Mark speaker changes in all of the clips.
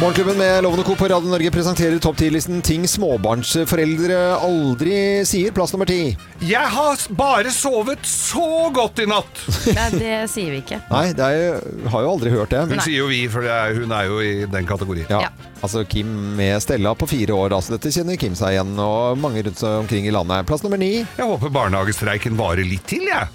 Speaker 1: Morgenklubben med Lovende Co på Radio Norge presenterer topp 10-listen ting småbarnsforeldre aldri sier. Plass nummer ti.
Speaker 2: Jeg har bare sovet så godt i natt!
Speaker 3: Nei, det sier vi ikke.
Speaker 1: Nei, det er, jo- har jo aldri hørt det.
Speaker 2: Hun sier jo vi, for det er, hun er jo i den kategorien.
Speaker 1: Ja.
Speaker 3: Ja.
Speaker 1: Altså Kim med Stella på fire år. Altså, dette kjenner Kim seg igjen, og mange rundt seg omkring i landet. Plass nummer ni.
Speaker 2: Jeg håper barnehagestreiken varer litt til, jeg.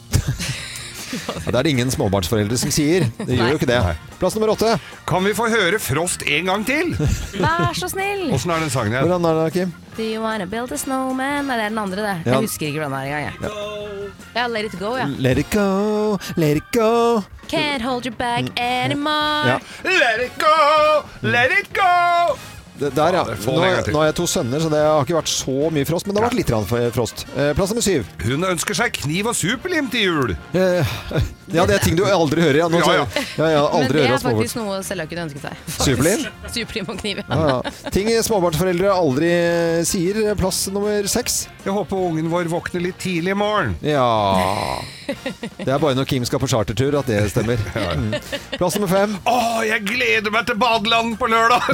Speaker 1: Ja, Det er det ingen småbarnsforeldre som sier. Det gjør jo ikke det.
Speaker 2: Nei.
Speaker 1: Plass nummer åtte.
Speaker 2: Kan vi få høre Frost en gang til?
Speaker 3: Vær så snill!
Speaker 2: Åssen er den sangen igjen?
Speaker 1: Hvordan er det, Kim?
Speaker 3: Do you wanna build a snowman? Nei, det er den andre, det.
Speaker 1: Ja.
Speaker 3: Jeg husker ikke hvordan det er engang. jeg. Ja, let it go, ja.
Speaker 1: Let it go, let it go.
Speaker 3: Can't hold you back
Speaker 1: Mm,
Speaker 3: anymore.
Speaker 1: Ja.
Speaker 2: Let it go, let it go!
Speaker 1: Det, der, ja.
Speaker 2: Ja, det får
Speaker 1: Nå,
Speaker 2: den en gang til.
Speaker 1: nå har jeg to sønner, så det har ikke vært så mye frost. Men det har vært litt grann frost. Eh, Plass nummer syv.
Speaker 2: Hun ønsker seg kniv og superlim til jul.
Speaker 1: Eh, Ja, det er ting du aldri hører. Ja, nå,
Speaker 2: Ja, ja.
Speaker 1: Ja, ja,
Speaker 3: Men
Speaker 1: aldri
Speaker 3: det
Speaker 1: hører
Speaker 3: er
Speaker 1: oss på
Speaker 3: faktisk noe Selja kunne ønsket seg. faktisk.
Speaker 1: Superlim?
Speaker 3: Superlim og kniv, ja.
Speaker 1: Ja, ja. Ting småbarnsforeldre aldri sier. Plass nummer seks.
Speaker 2: Jeg håper ungen vår våkner litt tidlig i morgen.
Speaker 1: Ja Det er bare når Kim skal på chartertur at det stemmer. Mm. Plass nummer fem.
Speaker 2: Å, jeg gleder meg til badeland på lørdag!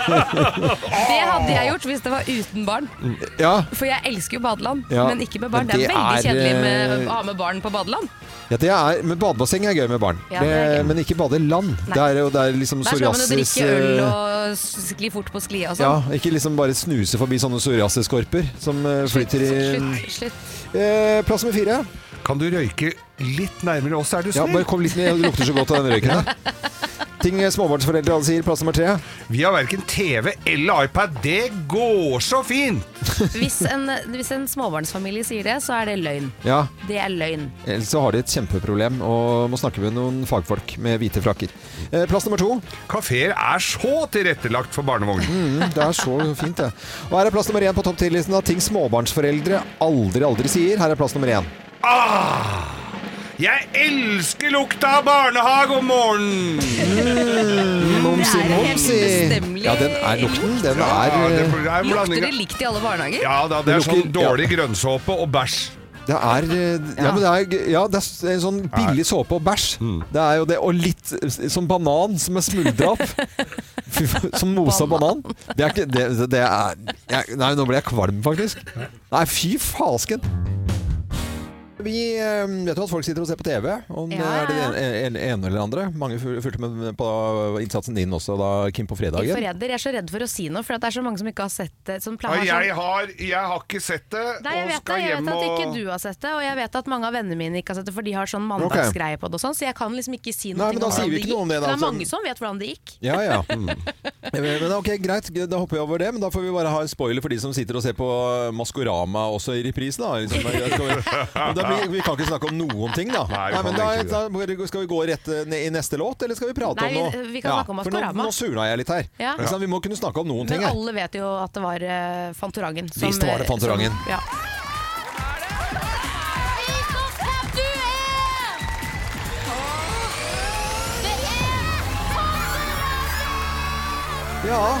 Speaker 3: Det hadde jeg gjort hvis det var uten barn.
Speaker 1: Ja,
Speaker 3: For jeg elsker jo badeland,
Speaker 1: Mm. Ja,
Speaker 3: men ikke med barn.
Speaker 1: men
Speaker 3: Det er
Speaker 1: det
Speaker 3: veldig
Speaker 1: er,
Speaker 3: kjedelig med
Speaker 1: eh,
Speaker 3: å ha med barn på badeland.
Speaker 1: ja det er, men badebasseng er gøy med barn.
Speaker 3: Ja, det er
Speaker 1: Det,
Speaker 3: gøy.
Speaker 1: men ikke badeland. Det er, jo- det er liksom
Speaker 3: Der skal man jo
Speaker 1: psoriasis
Speaker 3: drikke øl
Speaker 1: eh,
Speaker 3: og sånn. skli fort på sklia og sånn.
Speaker 1: ja, Ikke liksom bare snuse forbi sånne psoriasisskorper som eh, flyter i
Speaker 3: Slutt, slutt.
Speaker 1: eh, Plass nummer fire.
Speaker 2: Kan du røyke litt nærmere oss, er du
Speaker 1: Ja,
Speaker 2: snill?
Speaker 1: bare kom litt ned, det lukter så godt av den røyken der. Ting småbarnsforeldre alle sier. Plass nummer tre.
Speaker 2: Vi har verken TV eller iPad. Det går så fint!
Speaker 3: Hvis en, hvis en småbarnsfamilie sier det, så er det løgn.
Speaker 1: Ja,
Speaker 3: Det er løgn.
Speaker 1: Ellers så har de et kjempeproblem og må snakke med noen fagfolk med hvite frakker. Eh, Plass nummer to.
Speaker 2: Kafeer er så tilrettelagt for barnevogn.
Speaker 1: Mm, det er så fint, det. Og her er plass nummer én på topp 10-listen av ting småbarnsforeldre aldri, aldri sier. Her er plass nummer én.
Speaker 2: Ah! Jeg elsker lukta av barnehage om morgenen!
Speaker 1: Momsi,
Speaker 3: Det er en helt ubestemmelig
Speaker 1: Ja, den er lukten. Den er
Speaker 2: Ja, det
Speaker 1: eh,
Speaker 2: er en
Speaker 3: Lukter
Speaker 2: blanding
Speaker 3: det
Speaker 2: av-
Speaker 3: likt i alle barnehager?
Speaker 2: Ja da, det er
Speaker 1: Det lukter-
Speaker 2: sånn dårlig grønnsåpe og bæsj.
Speaker 1: Det er eh, Ja, men det er, ja, det er en sånn billig såpe og bæsj. Det er jo det. Og litt eh, sånn banan som er smuldra opp. Fy faen, Som mosa banan. Det er ikke Det, det er jeg, Nei, nå ble jeg kvalm, faktisk. Nei, fy fasken. Vi eh, vet jo at folk sitter og ser på TV, om det
Speaker 3: Ja,
Speaker 1: er det
Speaker 3: ja,
Speaker 1: ene en, en eller andre. Mange fu- fulgte med på innsatsen din også, da, Kim, på
Speaker 3: Jeg er
Speaker 1: fredagen.
Speaker 3: forræder. Jeg er så redd for å si noe, for at det er så mange som ikke har sett det. Som
Speaker 2: Ja,
Speaker 3: planer,
Speaker 2: jeg, har, jeg har ikke sett det,
Speaker 3: sånn- Nei, jeg
Speaker 2: og
Speaker 3: vet, det,
Speaker 2: skal
Speaker 3: jeg
Speaker 2: hjem
Speaker 3: vet at ikke
Speaker 2: og
Speaker 3: du har sett det, og jeg vet at mange av vennene mine ikke har sett det, for de har sånn mandagsgreie på det og sånn, så jeg kan liksom ikke si noe
Speaker 1: Nei, men da
Speaker 3: om
Speaker 1: sier
Speaker 3: hvordan
Speaker 1: vi ikke
Speaker 3: det
Speaker 1: noe om
Speaker 3: gikk.
Speaker 1: det, da,
Speaker 3: Men det er
Speaker 1: sånn.
Speaker 3: mange som vet hvordan det gikk.
Speaker 1: Ja, ja. Mm. Eh, Men men ok, greit, da hopper vi over det. Men da får vi bare ha en spoiler for de som sitter og ser på Maskorama også i reprise, da. Liksom. Da skal vi- Da blir, vi kan ikke snakke om noen ting, da.
Speaker 2: Nei, vi
Speaker 1: men
Speaker 2: kan
Speaker 1: da,
Speaker 2: ikke det.
Speaker 1: da bare- skal vi gå rett eh, ned i neste låt, eller skal vi prate
Speaker 3: Nei,
Speaker 1: om noe?
Speaker 3: vi- vi kan snakke om
Speaker 1: for nå,
Speaker 3: Maskorama.
Speaker 1: nå surna jeg litt her.
Speaker 3: Ja.
Speaker 1: Ikke sant? Vi må kunne snakke om noen ting
Speaker 3: Men
Speaker 1: her.
Speaker 3: alle vet jo at det var eh, Fantorangen. som-
Speaker 1: Visst var det Fantorangen.
Speaker 3: som- Ja.
Speaker 4: Vis oss hvem du er! Det er
Speaker 1: Ja.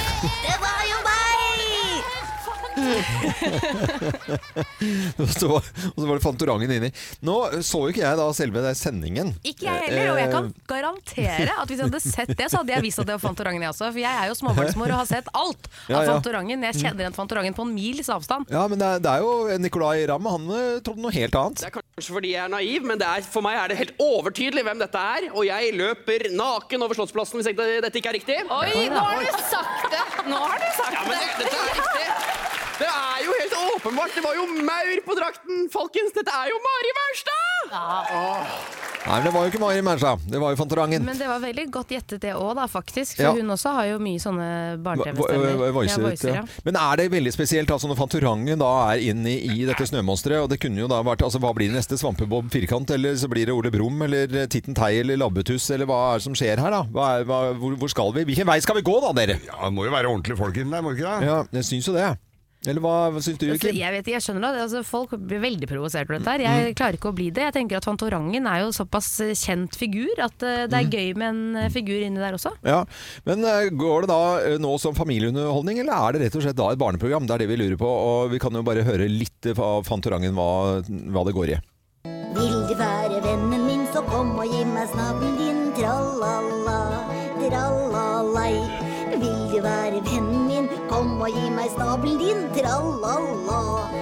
Speaker 4: Det var jo meg! Det var jo meg!
Speaker 1: Og så, var- og så var det Fantorangen inni. Nå eh, så jo ikke jeg da selve den sendingen.
Speaker 3: Ikke jeg heller, og jeg kan
Speaker 1: Eh,
Speaker 3: garantere at hvis jeg hadde sett det, så hadde jeg visst at det var Fantorangen jeg også. For jeg er jo småbarnsmor og har sett alt av
Speaker 1: Ja, ja.
Speaker 3: Fantorangen. Jeg kjenner igjen Fantorangen på en mils avstand.
Speaker 1: Ja, men det er, det er jo Nicolay Ramm, han eh, trodde noe helt annet.
Speaker 5: Det er kanskje fordi jeg er naiv, men det er, for meg er det helt overtydelig hvem dette er. Og jeg løper naken over Slottsplassen hvis ikke, dette ikke er riktig.
Speaker 3: Oi, nå har du sagt det! Nå har du sagt
Speaker 5: Ja, men det, dette er riktig! Det er jo helt åpenbart! Det var jo maur på drakten! Folkens, dette er jo Mari Maurstad!
Speaker 1: Nei, men det var jo ikke Mari Mærsja. Det var jo Fantorangen.
Speaker 3: Men det var veldig godt gjettet det òg, da, faktisk. For
Speaker 1: Ja.
Speaker 3: hun også har jo mye sånne
Speaker 1: Vo- vo-
Speaker 3: barne-TV-stemmer.
Speaker 1: vo- voicer,
Speaker 3: ja,
Speaker 1: ja.
Speaker 3: voicer, ja.
Speaker 1: Men er det veldig spesielt altså, når Fantorangen da er inne i dette snømonsteret? Og det kunne jo da vært altså, Hva blir det neste? Svampebob firkant? Eller så blir det Ole Brumm? Eller Titten Tei? Eller Labbetuss? Eller hva er det som skjer her, da? Hva er, hva, hvor, hvor skal vi? Hvilken vei skal vi gå da, dere?
Speaker 2: Ja, det må jo være ordentlige folk inni der, må det ikke det?
Speaker 1: Ja, jeg syns jo det. Eller hva, hva syns du,
Speaker 3: Altså,
Speaker 1: Kim?
Speaker 3: jeg vet ikke, jeg skjønner det. Altså, folk blir veldig provosert på dette her.
Speaker 1: Mm.
Speaker 3: Jeg klarer ikke å bli det. Jeg tenker at Fantorangen er jo såpass eh, kjent figur at eh, det
Speaker 1: Mm.
Speaker 3: er gøy med en eh, figur inni der også.
Speaker 1: Ja, Men eh, går det da eh, nå som familieunderholdning, eller er det rett og slett da et barneprogram? Det er det vi lurer på, og vi kan jo bare høre litt av Fantorangen hva, hva det går i.
Speaker 4: Vil du være vennen min, så kom og gi meg snabelen din. Tralala, tralalei. Vil du være vennen min, kom og gi meg snabelen din. Tralala,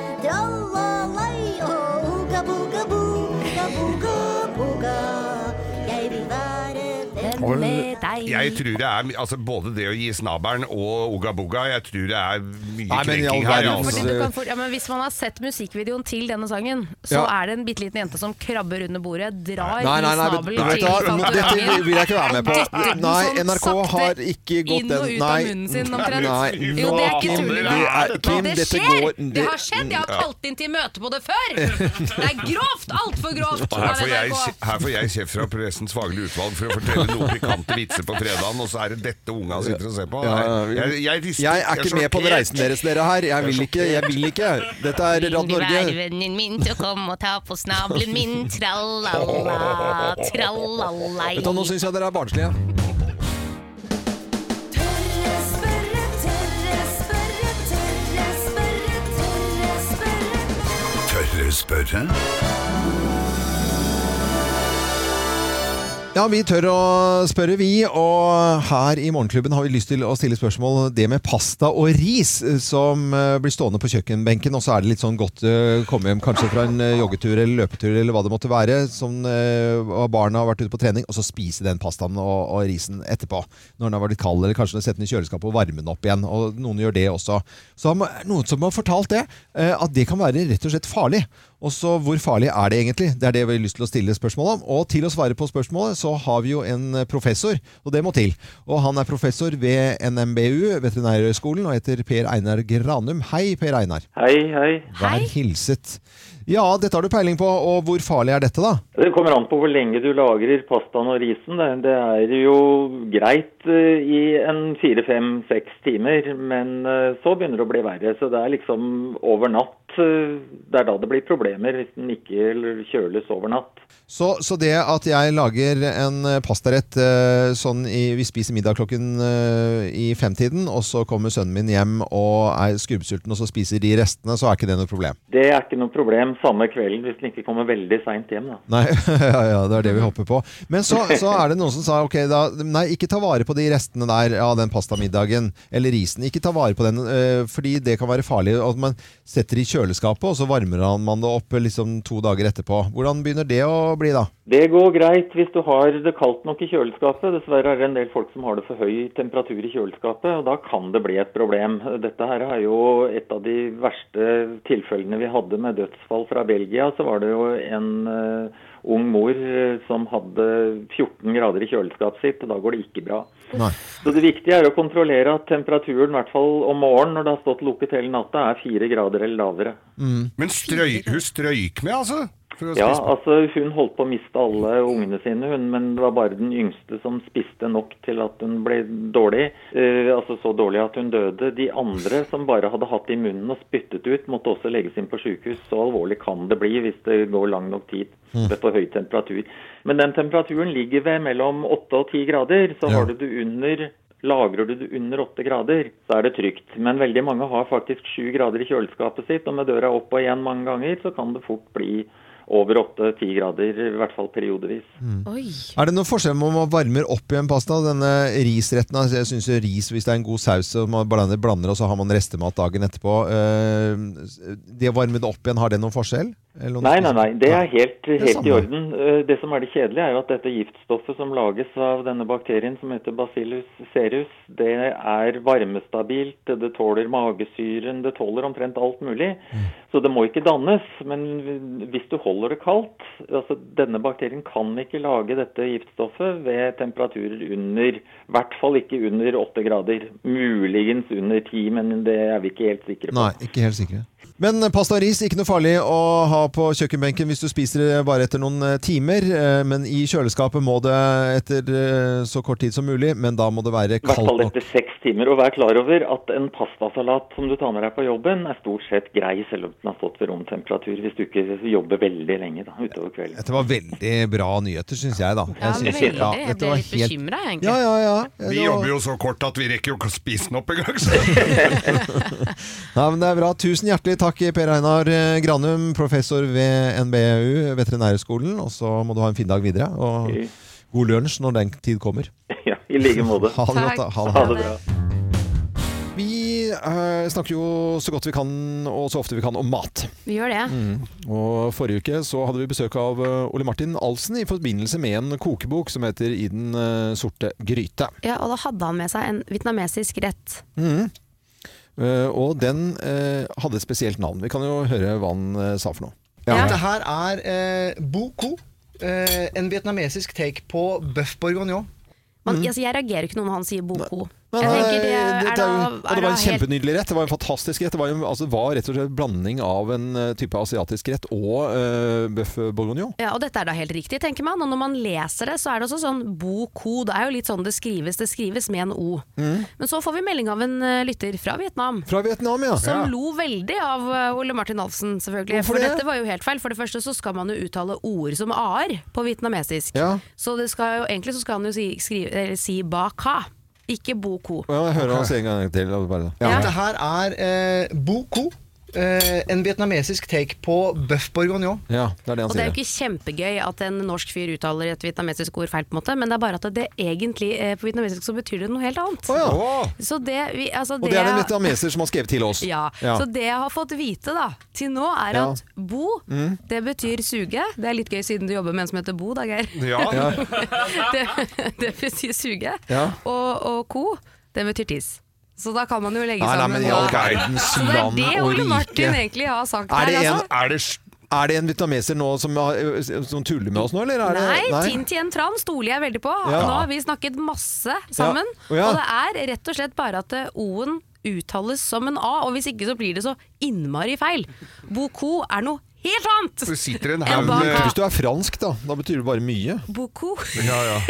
Speaker 4: tralalei. Og oga boga boga boga boga. Jeg vil være venn med deg.
Speaker 2: Jeg tror det er altså, både det å gi snabelen og Oga Boga Jeg tror det er mye
Speaker 1: Nei, men i all
Speaker 2: krenking her.
Speaker 1: verden.
Speaker 3: Fordi
Speaker 2: Altså.
Speaker 3: du kan fort, ja, men hvis man har sett musikkvideoen til denne sangen, så
Speaker 1: Ja.
Speaker 3: er det en bitte liten jente som krabber under bordet, drar
Speaker 1: Nei, nei, nei, vet
Speaker 3: i snabelen
Speaker 1: du hva?
Speaker 3: til
Speaker 1: Nå- dette vil- vil jeg ikke være med på.
Speaker 3: Dytter den
Speaker 1: Nei,
Speaker 3: sånn
Speaker 1: NRK har
Speaker 3: sakte
Speaker 1: ikke gått
Speaker 3: inn og
Speaker 1: den-
Speaker 3: ut
Speaker 1: nei,
Speaker 3: av munnen sin
Speaker 1: nei,
Speaker 3: omtrent.
Speaker 1: nei.
Speaker 3: jo, det er ikke
Speaker 2: Kim,
Speaker 3: tull
Speaker 2: det
Speaker 3: engang.
Speaker 2: er-
Speaker 1: Kim,
Speaker 3: det
Speaker 1: dette
Speaker 3: skjer!
Speaker 1: går-
Speaker 3: det,
Speaker 1: det-
Speaker 3: har skjedd! Jeg har kalt inn til møte på det før! Det er grovt! Altfor grovt!
Speaker 2: Her
Speaker 3: av
Speaker 2: får, jeg,
Speaker 3: NRK.
Speaker 2: her får jeg kjeft fra pressens faglige utvalg for å fortelle noen pikante vitser på fredagen, og så er det dette unga sitter og ser på.
Speaker 1: Ja,
Speaker 2: Nei,
Speaker 1: ja,
Speaker 2: jeg, jeg, rister-
Speaker 1: Jeg er
Speaker 2: jeg
Speaker 1: ikke med på den
Speaker 2: sjokkert.
Speaker 1: reisen deres, dere her. Jeg vil ikke. jeg vil ikke Dette er
Speaker 3: Vil
Speaker 1: Rad
Speaker 3: du være
Speaker 1: Norge.
Speaker 3: vennen min, så kom og ta på snabelen min, tralala, tralala.
Speaker 1: Vet du, Nå syns jeg dere er barnslige.
Speaker 4: Tørre spørre, tørre spørre, tørre spørre, tørre spørre.
Speaker 6: Tørre spørre?
Speaker 1: Ja, vi tør å spørre, vi. Og her i Morgenklubben har vi lyst til å stille spørsmål det med pasta og ris, eh, som eh, blir stående på kjøkkenbenken. Og så er det litt sånn godt eh, komme hjem kanskje fra en eh, joggetur eller løpetur eller hva det måtte være. Som eh, og barna har vært ute på trening, og så spise den pastaen og, og risen etterpå. Når den har vært litt kald, eller kanskje sette den i kjøleskapet og varme den opp igjen. Og noen gjør det også. Så har man- noen som har fortalt det, eh, at det kan være rett og slett farlig. Og så hvor farlig er det egentlig? Det er det vi har lyst til å stille spørsmål om. Og til å svare på spørsmålet så har vi jo en professor, og det må til. Og han er professor ved NMBU, Veterinærhøgskolen, og heter Per Einar Granum. Hei, Per Einar.
Speaker 7: Hei, hei.
Speaker 1: Vær hilset. Ja, dette har du peiling på, og hvor farlig er dette da?
Speaker 7: Det kommer an på hvor lenge du lagrer pastaen og risen. Det, det er jo greit eh, i en fire, fem, seks timer, men eh, så begynner det å bli verre. Så det er liksom over natt. eh, Det er da det blir problemer, hvis den ikke kjøles over natt.
Speaker 1: Så, så det at jeg lager en eh, pastarett eh, sånn i, Vi spiser middag klokken eh, i femtiden, og så kommer sønnen min hjem og er skrubbsulten, og så spiser de restene, så er ikke det noe problem.
Speaker 7: Det er ikke noe problem samme kvelden hvis den ikke kommer veldig seint hjem, da.
Speaker 1: Nei, ja, ja, det er det vi håper på. Men så, så er det noen som sa ok, da, nei, ikke ta vare på de restene der av den pastamiddagen eller risen. Ikke ta vare på den, eh, fordi det kan være farlig. At man setter det i kjøleskapet, og så varmer man det opp eh, liksom, to dager etterpå. Hvordan begynner det å bli, da?
Speaker 7: Det går greit hvis du har det kaldt nok i kjøleskapet. Dessverre er det en del folk som har det for høy temperatur i kjøleskapet, og da kan det bli et problem. Dette her er jo et av de verste tilfellene vi hadde med dødsfall fra Belgia. Så var det jo en eh, ung mor eh, som hadde 14 grader i kjøleskapet sitt, og da går det ikke bra.
Speaker 1: Nei.
Speaker 7: Så det viktige er å kontrollere at temperaturen, i hvert fall om morgenen når det har stått lukket hele natta, er fire grader eller lavere.
Speaker 2: Men strøy, hun strøyk med, altså? For å
Speaker 7: Ja,
Speaker 2: spise på.
Speaker 7: altså hun holdt på å miste alle ungene sine, hun, men det var bare den yngste som spiste nok til at hun ble dårlig. Eh, altså så dårlig at hun døde. De andre som bare hadde hatt det i munnen og spyttet ut, måtte også legges inn på sykehus. Så alvorlig kan det bli hvis det går lang nok tid
Speaker 2: Mm.
Speaker 7: ved for høy temperatur. Men den temperaturen ligger ved mellom 8 og 10 grader, så
Speaker 1: Ja.
Speaker 7: har du det under Lagrer du det under 8 grader, så er det trygt. Men veldig mange har faktisk 7 grader i kjøleskapet sitt, og med døra opp og igjen mange ganger, så kan det fort bli over 8-10 grader, i hvert fall periodevis.
Speaker 3: Oi.
Speaker 1: Er det noen forskjell om man varmer opp i en pasta? Denne risretten, altså, jeg synes jo ris hvis det er en god saus og man blander, blander og så har man restemat dagen etterpå. eh, det å varme det opp igjen, har det noen forskjell? Eller om du
Speaker 7: Nei, nei,
Speaker 1: spiser-
Speaker 7: nei. Det er helt,
Speaker 1: er
Speaker 7: helt i
Speaker 1: samme.
Speaker 7: orden. Eh, Det som er det kjedelige, er jo at dette giftstoffet som lages av denne bakterien som heter bacillus serus, det er varmestabilt, det tåler magesyren, det tåler omtrent alt mulig.
Speaker 1: Mm.
Speaker 7: Så det må ikke dannes. Men hvis du holder det kaldt altså Denne bakterien kan ikke lage dette giftstoffet ved temperaturer under I hvert fall ikke under åtte grader. Muligens under ti, men det er vi ikke helt sikre på.
Speaker 1: Nei, ikke helt sikre. Men pasta og ris, ikke noe farlig å ha på kjøkkenbenken hvis du spiser det bare etter noen eh, timer. eh, Men i kjøleskapet må det etter eh, så kort tid som mulig, men da må det være
Speaker 7: I hvert
Speaker 1: kaldt
Speaker 7: fall
Speaker 1: nok.
Speaker 7: etter seks timer. Og vær klar over at en pastasalat som du tar med deg på jobben, er stort sett grei, selv om den har stått ved romtemperatur, hvis du ikke jobber veldig lenge da, utover kvelden.
Speaker 1: Dette var veldig bra nyheter, syns jeg, da. Jeg
Speaker 3: Ja,
Speaker 1: synes-
Speaker 3: veldig.
Speaker 1: ja,
Speaker 3: Jeg
Speaker 1: dette
Speaker 3: ble
Speaker 1: var
Speaker 3: litt
Speaker 1: helt-
Speaker 3: bekymra, egentlig.
Speaker 1: Ja, ja, ja.
Speaker 2: Vi
Speaker 1: Det var-
Speaker 2: jobber jo så kort at vi rekker jo ikke å spise den opp engang. så-
Speaker 1: Nei, men det er bra. Tusen hjertelig takk, Per Einar eh, Granum, professor ved NBU, Veterinærhøgskolen. Og så må du ha en fin dag videre. Og god lunsj når den tid kommer.
Speaker 7: Ja, I like måte.
Speaker 1: Ha det godt. da. Ha det.
Speaker 7: Ha det bra.
Speaker 1: Vi eh, snakker jo så godt vi kan og så ofte vi kan om mat.
Speaker 8: Vi gjør det.
Speaker 1: Mm. Og Forrige uke så hadde vi besøk av eh, Ole Martin Alsen i forbindelse med en kokebok som heter 'I den eh, sorte gryte'.
Speaker 3: Ja, og da hadde han med seg en vietnamesisk rett.
Speaker 1: Eh, og den eh, hadde et spesielt navn. Vi kan jo høre hva han eh, sa for noe.
Speaker 9: Dette her er eh, boko. Eh, en vietnamesisk take på bøff bourguignon.
Speaker 3: Man, altså, jeg reagerer ikke noe når han sier boko.
Speaker 1: Men,
Speaker 3: Jeg tenker det
Speaker 1: eh,
Speaker 3: er
Speaker 1: dette
Speaker 3: da,
Speaker 1: er jo- og
Speaker 3: er
Speaker 1: det var
Speaker 3: da
Speaker 1: en
Speaker 3: helt
Speaker 1: kjempenydelig rett. Det var en fantastisk rett. Det var, jo- altså, det var rett og slett en blanding av en eh, type asiatisk rett og uh, bøff bourguignon.
Speaker 3: ja, og dette er da helt riktig, tenker man. Og når man leser det, så er det også sånn boko. Det er jo litt sånn det skrives. Det skrives med en o.
Speaker 1: Mm.
Speaker 3: Men så får vi melding av en eh, lytter fra Vietnam.
Speaker 1: Fra Vietnam, ja.
Speaker 3: Som lo veldig av eh, Ole Martin Alfsen, selvfølgelig.
Speaker 1: Hvorfor
Speaker 3: for
Speaker 1: det?
Speaker 3: dette var jo helt feil. For det første så skal man jo uttale ord som a-er på vietnamesisk.
Speaker 1: Ja.
Speaker 3: Så det skal jo, egentlig så skal han jo si, skrive, eller si ba ka, ikke bo ko.
Speaker 1: Ja, Jeg hører oss en gang til. og Bare.
Speaker 9: Dette her er eh, boko. Eh, en vietnamesisk take på bøff bourguignon.
Speaker 1: Ja, det er det han
Speaker 3: Og det
Speaker 1: sier.
Speaker 3: er jo ikke kjempegøy at en norsk fyr uttaler et vietnamesisk ord feil, på en måte, men det er bare at det egentlig eh, på vietnamesisk så betyr det noe helt annet.
Speaker 1: Å, ja.
Speaker 3: Så det, vi, altså,
Speaker 1: Og det er en vietnameser som har skrevet til oss.
Speaker 3: Ja.
Speaker 1: Ja.
Speaker 3: Så det jeg har fått vite da, til nå, er
Speaker 1: Ja. Mm.
Speaker 3: at bo, det betyr suge. Det er litt gøy siden du jobber med en som heter Bo, da, Geir.
Speaker 2: Ja,
Speaker 3: det, det betyr suge.
Speaker 1: Ja.
Speaker 3: Og, og ko, det betyr tiss. Så da kan man jo legge
Speaker 1: Nei, nei,
Speaker 3: sammen
Speaker 1: men i all
Speaker 3: hva-
Speaker 1: verdens
Speaker 3: Så det er
Speaker 1: land
Speaker 3: det Ole
Speaker 1: og
Speaker 3: Martin
Speaker 1: rike.
Speaker 3: egentlig har sagt
Speaker 1: Er det
Speaker 3: her.
Speaker 1: en-
Speaker 3: Altså.
Speaker 2: er det s-
Speaker 1: Er det en vietnameser nå som, har- som tuller med oss nå, eller? Er det,
Speaker 3: Nei, Tin Tien Tran stoler jeg veldig på.
Speaker 1: Ja.
Speaker 3: Nå har vi snakket masse sammen.
Speaker 1: Ja. Ja.
Speaker 3: Og det er rett og slett bare at eh, O-en uttales som en A, og hvis ikke så blir det så innmari feil. Boko er noe helt annet!
Speaker 2: det sitter en
Speaker 3: En
Speaker 2: haug
Speaker 3: bak-
Speaker 2: med
Speaker 1: Hvis du er fransk, da. Da betyr det bare mye.
Speaker 3: Boko.
Speaker 2: Ja, ja.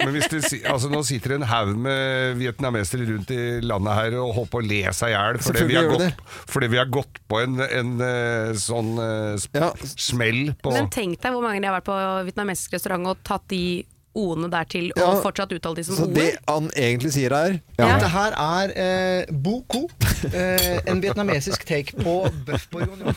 Speaker 2: Men hvis det, si- altså, nå sitter en haug med vietnamesere rundt i landet her og holder på å le seg i hjel fordi, vi
Speaker 1: Selvfølgelig
Speaker 2: har
Speaker 1: gjør de
Speaker 2: gått- fordi vi har gått på en, en eh, sånn eh, sp
Speaker 1: Ja.
Speaker 2: smell på
Speaker 3: Men tenk deg hvor mange ganger jeg har vært på vietnamesisk restaurant og tatt de O-ene der til, og
Speaker 1: Ja.
Speaker 3: fortsatt uttalt de som
Speaker 1: Så
Speaker 3: O-er.
Speaker 1: det han egentlig sier her
Speaker 3: Ja.
Speaker 9: Dette her er eh, boko. Eh, en vietnamesisk take på bøff bourguignon.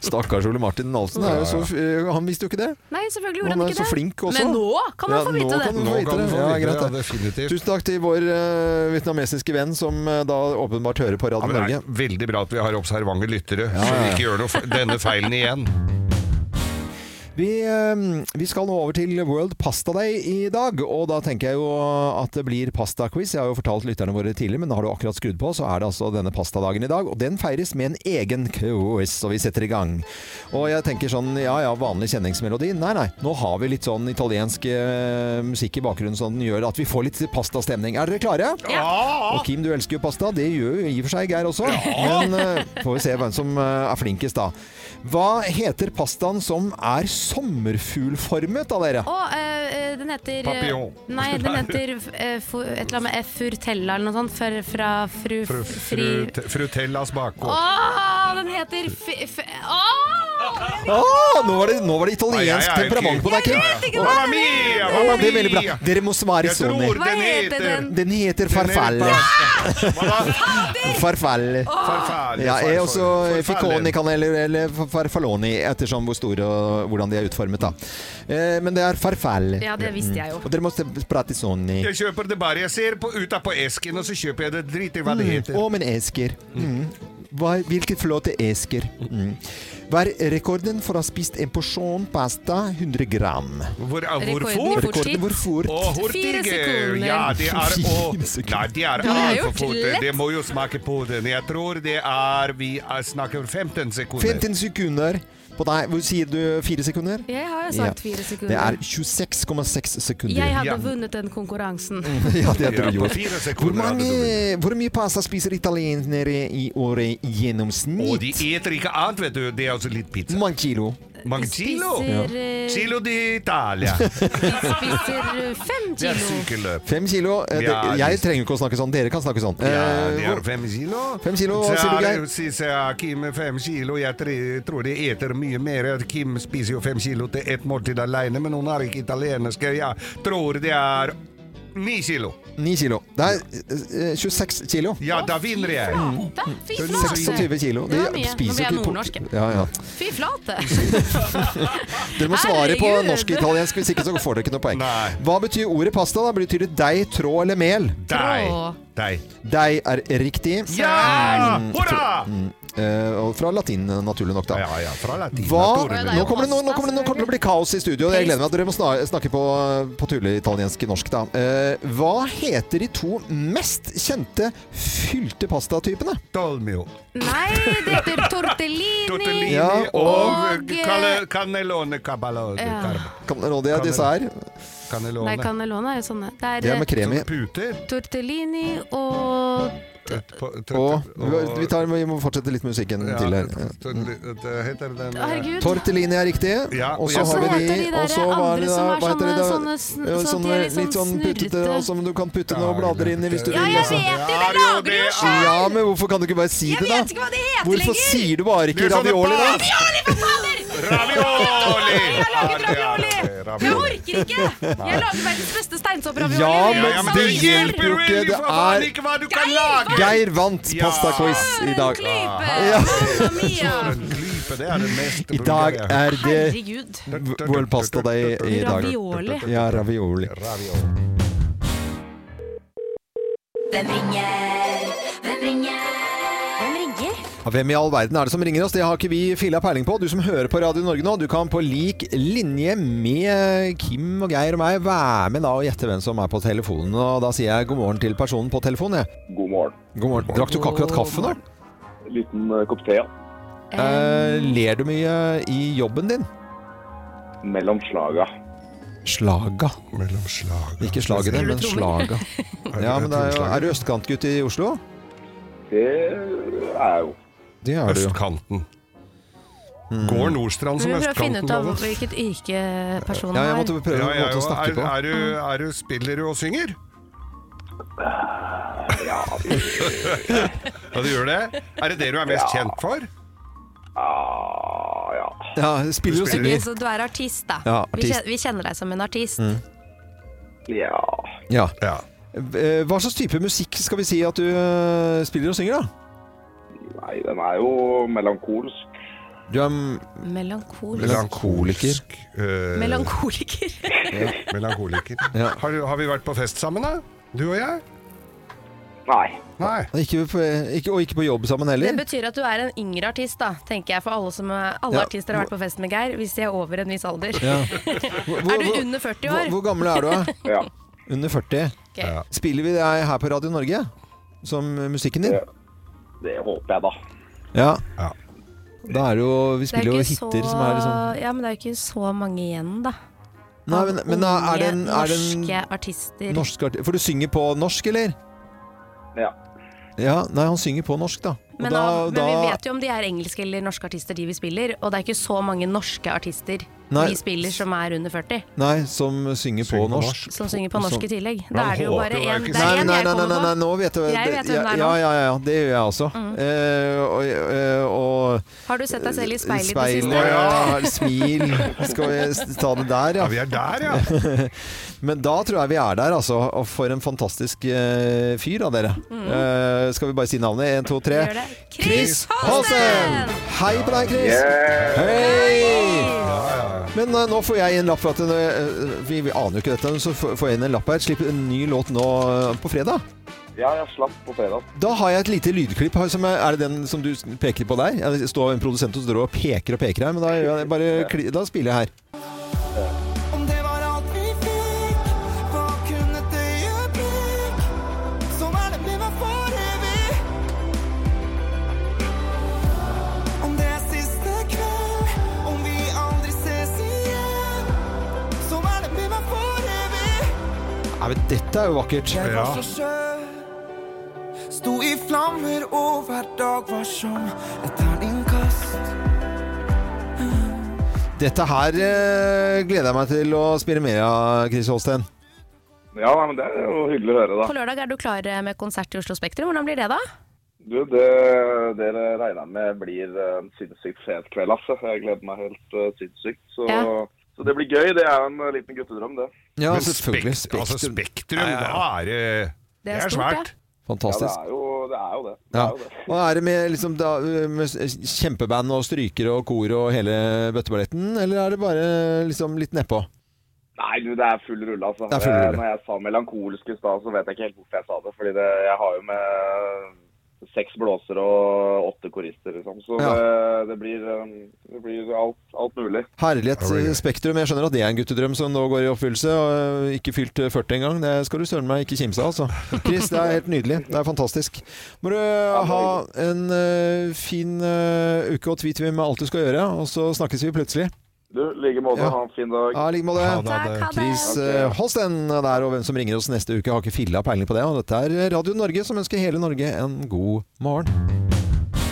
Speaker 1: Stakkars Ole Martin Alsen. er jo så- eh, Han visste jo ikke det.
Speaker 3: Nei, selvfølgelig
Speaker 1: Han
Speaker 3: gjorde han
Speaker 1: er
Speaker 3: ikke
Speaker 1: så
Speaker 3: det.
Speaker 1: flink også.
Speaker 3: Men nå kan man
Speaker 1: Ja,
Speaker 3: få
Speaker 1: nå
Speaker 3: vite
Speaker 1: kan man-
Speaker 3: det.
Speaker 2: Nå
Speaker 1: Nå
Speaker 2: kan
Speaker 1: vite
Speaker 2: du
Speaker 1: det.
Speaker 2: få
Speaker 1: Ja,
Speaker 2: vite det,
Speaker 1: greit
Speaker 2: ja,
Speaker 1: det.
Speaker 2: definitivt.
Speaker 1: Tusen takk til vår eh, vietnamesiske venn som eh, da åpenbart hører på
Speaker 2: Ja,
Speaker 1: Radio
Speaker 2: men det
Speaker 1: Norge.
Speaker 2: er veldig bra at vi har observante lyttere, så vi ikke gjør noe f denne feilen igjen.
Speaker 1: Vi, eh, vi skal nå over til World Pasta Day i dag, og da tenker jeg jo at det blir pastaquiz. Jeg har jo fortalt lytterne våre tidligere, men har du akkurat skrudd på, så er det altså denne pastadagen i dag. Og den feires med en egen quiz, og vi setter i gang. Og jeg tenker sånn, ja ja, vanlig kjenningsmelodi. Nei nei, nå har vi litt sånn italiensk eh, musikk i bakgrunnen som gjør at vi får litt pastastemning. Er dere klare? Og Kim, du elsker jo pasta. Det gjør jo i og for seg Geir også. Men eh, får vi se hvem som eh, er flinkest, da. Hva heter pastaen som er sommerfuglformet, da, dere?
Speaker 3: Og eh, eh, den heter eh,
Speaker 2: Papillon.
Speaker 3: Nei, den heter eh, fu- et eller annet med F. Furtella eller noe sånt. For, fra fru,
Speaker 2: Fru,
Speaker 3: fri...
Speaker 2: frut- frutellas bako.
Speaker 3: Åh, den heter f... f Åh!
Speaker 1: Ah, nå, var det, nå var det italiensk
Speaker 2: Nei, jeg er jo
Speaker 1: temperament på deg, Kim.
Speaker 3: ikke
Speaker 2: Mamma mia!
Speaker 1: Å,
Speaker 2: Mamma
Speaker 1: det er veldig bra.
Speaker 2: mia!
Speaker 1: Dere må svare
Speaker 2: Jeg tror
Speaker 1: sånn.
Speaker 3: Hva
Speaker 2: den
Speaker 3: heter
Speaker 2: heter
Speaker 3: den?
Speaker 1: Den heter farfalle. Farfalle.
Speaker 2: Farfalle.
Speaker 1: Ja, jeg også
Speaker 2: Farfalle.
Speaker 1: fikoni-kaneller, eller far- farfalloni, ettersom hvor store og hvordan de er utformet, da. Eh, Men det er farfalle.
Speaker 3: Ja, det visste jeg jo.
Speaker 1: Og dere må prate sånn i
Speaker 2: Jeg
Speaker 1: Mm.
Speaker 2: kjøper det bare jeg ser på, ut av på esken, og så kjøper jeg det. Driter i hva det heter.
Speaker 1: Å, men Esker. Mm. hva- hvilket flåte esker. Mm. Hva er rekorden for å ha spist en porsjon pasta 100 gram?
Speaker 2: Hvor, hvorfor?
Speaker 1: Rekorden hvor fort?
Speaker 2: Å, hvor
Speaker 1: Fire
Speaker 2: digg.
Speaker 1: sekunder.
Speaker 2: Ja, det er å, Nei, det er
Speaker 1: Det har jeg
Speaker 2: altfor
Speaker 1: gjort
Speaker 2: fort.
Speaker 1: lett.
Speaker 2: Det må jo smake på den. Jeg tror det er Vi er- snakker 15 sekunder.
Speaker 1: 15 sekunder på deg. Hvor Sier du fire sekunder?
Speaker 10: Jeg har sagt fire sekunder.
Speaker 1: Det er 26,6 sekunder.
Speaker 10: Jeg hadde vunnet den konkurransen.
Speaker 2: Mm.
Speaker 1: ja, det hadde
Speaker 2: Ja,
Speaker 1: du
Speaker 2: på
Speaker 1: gjort.
Speaker 2: fire
Speaker 1: Hvor,
Speaker 2: sekunder
Speaker 1: mange, hvor mye pasta spiser italienere i året i gjennomsnitt?
Speaker 2: Og de eter ikke annet, vet du. Det er også litt pizza.
Speaker 1: Mange kilo.
Speaker 2: Mange kilo?
Speaker 10: Spiser, eh,
Speaker 2: Kilo d'Italia.
Speaker 10: Spiser eh, fem
Speaker 2: Det er
Speaker 10: kilo.
Speaker 2: sykelløp.
Speaker 1: Fem kilo. Eh,
Speaker 2: Ja,
Speaker 1: det- jeg trenger ikke å snakke sånn. Dere kan snakke sånn.
Speaker 2: Ja,
Speaker 1: Eh,
Speaker 2: det er
Speaker 1: hvor-
Speaker 2: fem kilo.
Speaker 1: Fem kilo, hva
Speaker 2: Så
Speaker 1: sier du,
Speaker 2: er det
Speaker 1: Geir?
Speaker 2: Sisaki med fem kilo. Jeg tre- tror de eter mye mer. Kim spiser jo fem kilo til ett måltid alene, men hun er ikke italiensk. Jeg tror det er ni kilo.
Speaker 1: Ni kilo. Det er eh, eh, 26 kilo.
Speaker 2: Ja, da vinner jeg.
Speaker 10: Fy
Speaker 1: Det er
Speaker 10: flate!
Speaker 1: 26 kilo.
Speaker 10: Det var mye. Nå
Speaker 1: spiser
Speaker 10: blir jeg
Speaker 1: ikke på-
Speaker 10: nordnorsk. jeg.
Speaker 1: Ja, ja.
Speaker 10: Fy flate!
Speaker 1: Dere må svare på
Speaker 10: Herregud.
Speaker 1: norsk og italiensk, hvis ikke så får dere ikke noe poeng. Hva betyr ordet pasta? da? Betyr det deig, tråd eller mel?
Speaker 2: Deig. Deig.
Speaker 1: Deig er riktig.
Speaker 2: Ja!
Speaker 1: Mm,
Speaker 2: Hurra!
Speaker 1: mm, eh, og fra latin, naturlig nok, da.
Speaker 2: Ja, ja, fra latin.
Speaker 1: Hva?
Speaker 2: naturlig nok.
Speaker 1: Nå kommer, det, nå, nå, kommer det, nå kommer det til å bli kaos i studio. og Jeg gleder meg at dere må sna- snakke på, på tulleitaliensk norsk. Da. Eh, hva heter de to mest kjente fylte pastatypene?
Speaker 2: Dolmio.
Speaker 10: Nei, det heter tortellini.
Speaker 2: Ja, og
Speaker 10: Og, eh,
Speaker 2: Calle- cannellone caballone.
Speaker 10: Ja.
Speaker 1: Cannelloni er dessert.
Speaker 10: Nei,
Speaker 2: Cannellone.
Speaker 10: cannellone er jo sånne. Det er, eh,
Speaker 1: Det er med krem i.
Speaker 2: Så Puter.
Speaker 10: Tortellini og
Speaker 1: Og vi, tar, vi må fortsette litt musikken
Speaker 2: Ja,
Speaker 1: til her.
Speaker 2: Det heter den
Speaker 10: Herregud.
Speaker 1: Tortellini er riktig.
Speaker 2: Ja, og
Speaker 1: og så
Speaker 2: jeg-
Speaker 1: har
Speaker 2: Så
Speaker 1: vi
Speaker 10: heter
Speaker 1: de
Speaker 10: de der
Speaker 1: og så var
Speaker 10: andre
Speaker 1: det da-
Speaker 10: som er
Speaker 1: hva heter de da?
Speaker 10: sånne- sånne-
Speaker 1: Ja,
Speaker 10: sånn at de er litt
Speaker 1: Litt sånn
Speaker 10: sånn
Speaker 1: puttete,
Speaker 10: snurrete.
Speaker 1: og som du kan putte noen blader inn i hvis du
Speaker 10: Ja,
Speaker 1: vil.
Speaker 10: jeg
Speaker 1: altså.
Speaker 10: vet det! Det
Speaker 2: Ja, jo,
Speaker 10: lager
Speaker 2: det
Speaker 10: jo
Speaker 2: er-
Speaker 10: sjøl!
Speaker 1: Ja, men hvorfor kan du ikke bare si
Speaker 10: Jeg
Speaker 1: det, da?
Speaker 10: vet ikke hva det heter
Speaker 1: Hvorfor
Speaker 10: lenger!
Speaker 1: sier du bare ikke ravioli, da?
Speaker 10: Ravioli, for fader!
Speaker 2: sånn Ravioli!
Speaker 10: Jeg har laget
Speaker 2: Ja, det er
Speaker 10: ravioli!
Speaker 2: det, ravioli.
Speaker 10: Jeg orker ikke! Jeg lager verdens beste steinsoppravioli.
Speaker 1: Ja,
Speaker 10: med
Speaker 1: men
Speaker 10: salsa
Speaker 1: det
Speaker 10: og
Speaker 1: hjelper jo ikke. Det er
Speaker 2: ikke hva du kan
Speaker 10: Geir,
Speaker 2: lage!
Speaker 1: Geir vant pastaquiz i dag. Ja.
Speaker 10: Mamma mia!
Speaker 2: Klype, det er det mest
Speaker 1: I dag er det
Speaker 10: Herregud.
Speaker 1: World Pasta Day i dag.
Speaker 10: Ravioli.
Speaker 1: Ja, ravioli.
Speaker 4: Hvem ringer? Hvem ringer? Hvem ringer?
Speaker 1: Ja, Hvem i all verden er det som ringer oss? Det har ikke vi filla peiling på. Du som hører på Radio Norge nå, du kan på lik linje med Kim og Geir og meg være med da og gjette hvem som er på telefonen. Og da sier jeg god morgen til personen på telefonen, jeg.
Speaker 11: God morgen.
Speaker 1: God morgen. Drakk du ikke akkurat kaffe nå?
Speaker 11: En liten eh, kopp te, ja.
Speaker 1: Eh, ler du mye i jobben din?
Speaker 11: Mellom slaga.
Speaker 1: Slaga.
Speaker 2: Mellom slaga.
Speaker 1: Ikke slagene, men slaga. Ja, men det er, jo, er du østkantgutt i Oslo?
Speaker 11: Det eh, er jeg jo.
Speaker 1: Det er du jo. Mm.
Speaker 2: Østkanten. Går Nordstrand
Speaker 3: Vi
Speaker 2: som
Speaker 3: prøver å finne
Speaker 2: østkanten?
Speaker 3: ut av
Speaker 2: Loven?
Speaker 3: hvilket yrke personen
Speaker 1: Ja,
Speaker 3: er.
Speaker 1: jeg måtte prøve
Speaker 2: Ja,
Speaker 1: en
Speaker 2: jeg
Speaker 1: måte å
Speaker 2: jo.
Speaker 1: snakke
Speaker 2: er,
Speaker 1: på.
Speaker 2: er, du, er du spiller du og synger?
Speaker 11: Ja,
Speaker 2: Ja, du gjør det? Er det det du er mest
Speaker 11: Ja.
Speaker 2: kjent for?
Speaker 11: ah, ja.
Speaker 1: Ja, spiller og
Speaker 3: Ok,
Speaker 10: Altså,
Speaker 1: synger.
Speaker 3: så du er artist, da.
Speaker 1: Ja,
Speaker 3: Vi
Speaker 1: artist. Mm.
Speaker 3: kjen- Vi kjenner deg som en artist.
Speaker 11: ja.
Speaker 1: Ja.
Speaker 2: Ja.
Speaker 1: Eh, Hva slags type musikk skal vi si at du eh, spiller og synger, da?
Speaker 11: Nei, den er jo melankolsk.
Speaker 1: Du er mm,
Speaker 3: Melankolisk.
Speaker 1: melankoliker.
Speaker 2: Eh,
Speaker 3: Melankoliker.
Speaker 2: Melankoliker.
Speaker 1: Ja.
Speaker 2: Har, du- har vi vært på fest sammen, da? Du og jeg?
Speaker 11: Nei.
Speaker 2: Nei.
Speaker 1: Ikke på, ikke, og ikke på jobb sammen
Speaker 3: Det
Speaker 1: heller?
Speaker 3: betyr at du er en yngre artist, da, tenker jeg, for alle, som, alle
Speaker 1: Ja.
Speaker 3: artister har vært på fest med Geir, hvis de er over en viss alder.
Speaker 1: Ja. Hvor,
Speaker 3: Er du under 40
Speaker 1: hvor,
Speaker 3: år?
Speaker 1: hvor gammel er du, da?
Speaker 11: Ja.
Speaker 1: Under 40.
Speaker 3: Ok. Ja.
Speaker 1: Spiller vi deg her på Radio Norge? Som musikken din?
Speaker 11: Det, det håper jeg, da.
Speaker 1: Ja.
Speaker 2: Ja.
Speaker 1: Da er det jo Vi
Speaker 3: Det er
Speaker 1: spiller jo
Speaker 3: ikke
Speaker 1: hiter som er liksom
Speaker 3: Ja, men det er jo ikke så mange igjen, da.
Speaker 1: Nei, men, men er det en, er det
Speaker 3: norske
Speaker 1: en
Speaker 3: artister.
Speaker 1: norsk artist For du synger på norsk, eller?
Speaker 11: Ja.
Speaker 1: Ja, nei, han synger på norsk, da. Og
Speaker 3: Men,
Speaker 1: da,
Speaker 3: av-
Speaker 1: da
Speaker 3: men vi vet jo om de er engelske eller norske artister, de vi spiller. Og det er ikke så mange norske artister
Speaker 1: Nei.
Speaker 3: vi spiller som er under 40,
Speaker 1: Nei, som synger
Speaker 2: Synger
Speaker 1: på
Speaker 2: på
Speaker 1: norsk.
Speaker 2: norsk.
Speaker 3: som synger på norsk i
Speaker 1: Sånn.
Speaker 3: tillegg.
Speaker 2: Men
Speaker 3: Da er det jo
Speaker 2: håper
Speaker 3: bare
Speaker 2: jeg
Speaker 3: én
Speaker 2: ikke
Speaker 3: Det
Speaker 1: Nei, nei,
Speaker 3: er én jeg
Speaker 1: nei, nei,
Speaker 3: kommer
Speaker 1: nei,
Speaker 3: på.
Speaker 1: nei, nå vet jeg
Speaker 3: Jeg vet hvem
Speaker 1: ja,
Speaker 3: det er nå.
Speaker 1: ja, ja, ja, det gjør jeg også. Eh, og, eh, og
Speaker 3: Har du sett deg selv i speilet i det
Speaker 1: Speil,
Speaker 3: siste?
Speaker 1: ja, smil. Skal vi s- ta det der,
Speaker 2: Ja,
Speaker 1: ja.
Speaker 2: vi er der, ja.
Speaker 1: Men da tror jeg vi er der, altså. Og for en fantastisk eh, fyr av dere. Eh, skal vi bare si navnet? Én, to, tre.
Speaker 3: Mm. Gjør det. Chris
Speaker 1: Holsten!
Speaker 3: Holsten!
Speaker 1: Hei på deg, Chris! Hei! Men eh, nå får jeg en lapp for at eh, vi, vi aner jo ikke dette, men så får får jeg inn en lapp her. Slipp en ny låt nå eh, på fredag.
Speaker 11: Ja, jeg slapp på fredag.
Speaker 1: Da har jeg et lite lydklipp. her som Er, er det den som du peker på der? Jeg står en produsent og står og peker og peker her, men da, gjør jeg bare, kli- da spiller jeg her.
Speaker 12: Om det var alt vi fikk, hva kunne det øyeblikk? Sånn er det med meg for evig. Om det er siste kveld, om vi aldri ses igjen. Sånn er det med meg for evig.
Speaker 1: Nei, men dette er jo vakkert.
Speaker 12: Jeg var så skjør, sto i flammer, og hver dag var som et terningkast.
Speaker 1: Dette her eh, gleder jeg meg til å spille mer av, Chris Holsten.
Speaker 11: Ja, nei, men det er jo hyggelig å høre,
Speaker 10: På
Speaker 11: da.
Speaker 10: lørdag er du klar
Speaker 3: eh,
Speaker 10: med konsert i Oslo Spektrum. Hvordan blir det, da?
Speaker 11: Du, det, det regner jeg med blir en sinnssykt fet kveld, altså. Jeg gleder meg helt eh, sinnssykt. Så,
Speaker 10: Ja.
Speaker 11: så det blir gøy. Det er jo en eh, liten guttedrøm, det.
Speaker 1: Ja,
Speaker 2: Men
Speaker 1: selvfølgelig.
Speaker 2: spekt- altså,
Speaker 1: Spektrum.
Speaker 2: Spektrum,
Speaker 1: Ja, ja, ja.
Speaker 2: da er det
Speaker 11: Det er stort, det.
Speaker 1: Fantastisk.
Speaker 11: Ja, det er jo det. Er jo det.
Speaker 1: Ja. Og er det med, liksom, da, med kjempeband og strykere og kor og hele bøtteballetten, eller er det bare liksom, litt nedpå?
Speaker 11: Nei, du, det er full rulle, altså.
Speaker 1: Det er full rulle.
Speaker 11: Når jeg sa melankolsk i stad, så vet jeg ikke helt hvorfor jeg sa det. Fordi det, jeg har jo med seks blåsere og åtte korister, liksom. Så
Speaker 1: Ja.
Speaker 11: det, det blir, um, det blir alt, alt mulig.
Speaker 1: Herlighet, Spektrum. Jeg skjønner at det er en guttedrøm som nå går i oppfyllelse. Og eh, ikke fylt 40 engang. Det skal du søren meg ikke kimse av, altså. Chris, det er helt nydelig. Det er fantastisk. Må du ha en eh, fin eh, uke og tweet vi med alt du skal gjøre, og så snakkes vi plutselig.
Speaker 11: Du, i like måte.
Speaker 1: Ja.
Speaker 11: Ha en fin dag.
Speaker 1: Ja, i like måte. Chris eh, Holsten der, og hvem som ringer oss neste uke, har ikke filla peiling på det. Og dette er Radio Norge, som ønsker hele Norge en god morgen.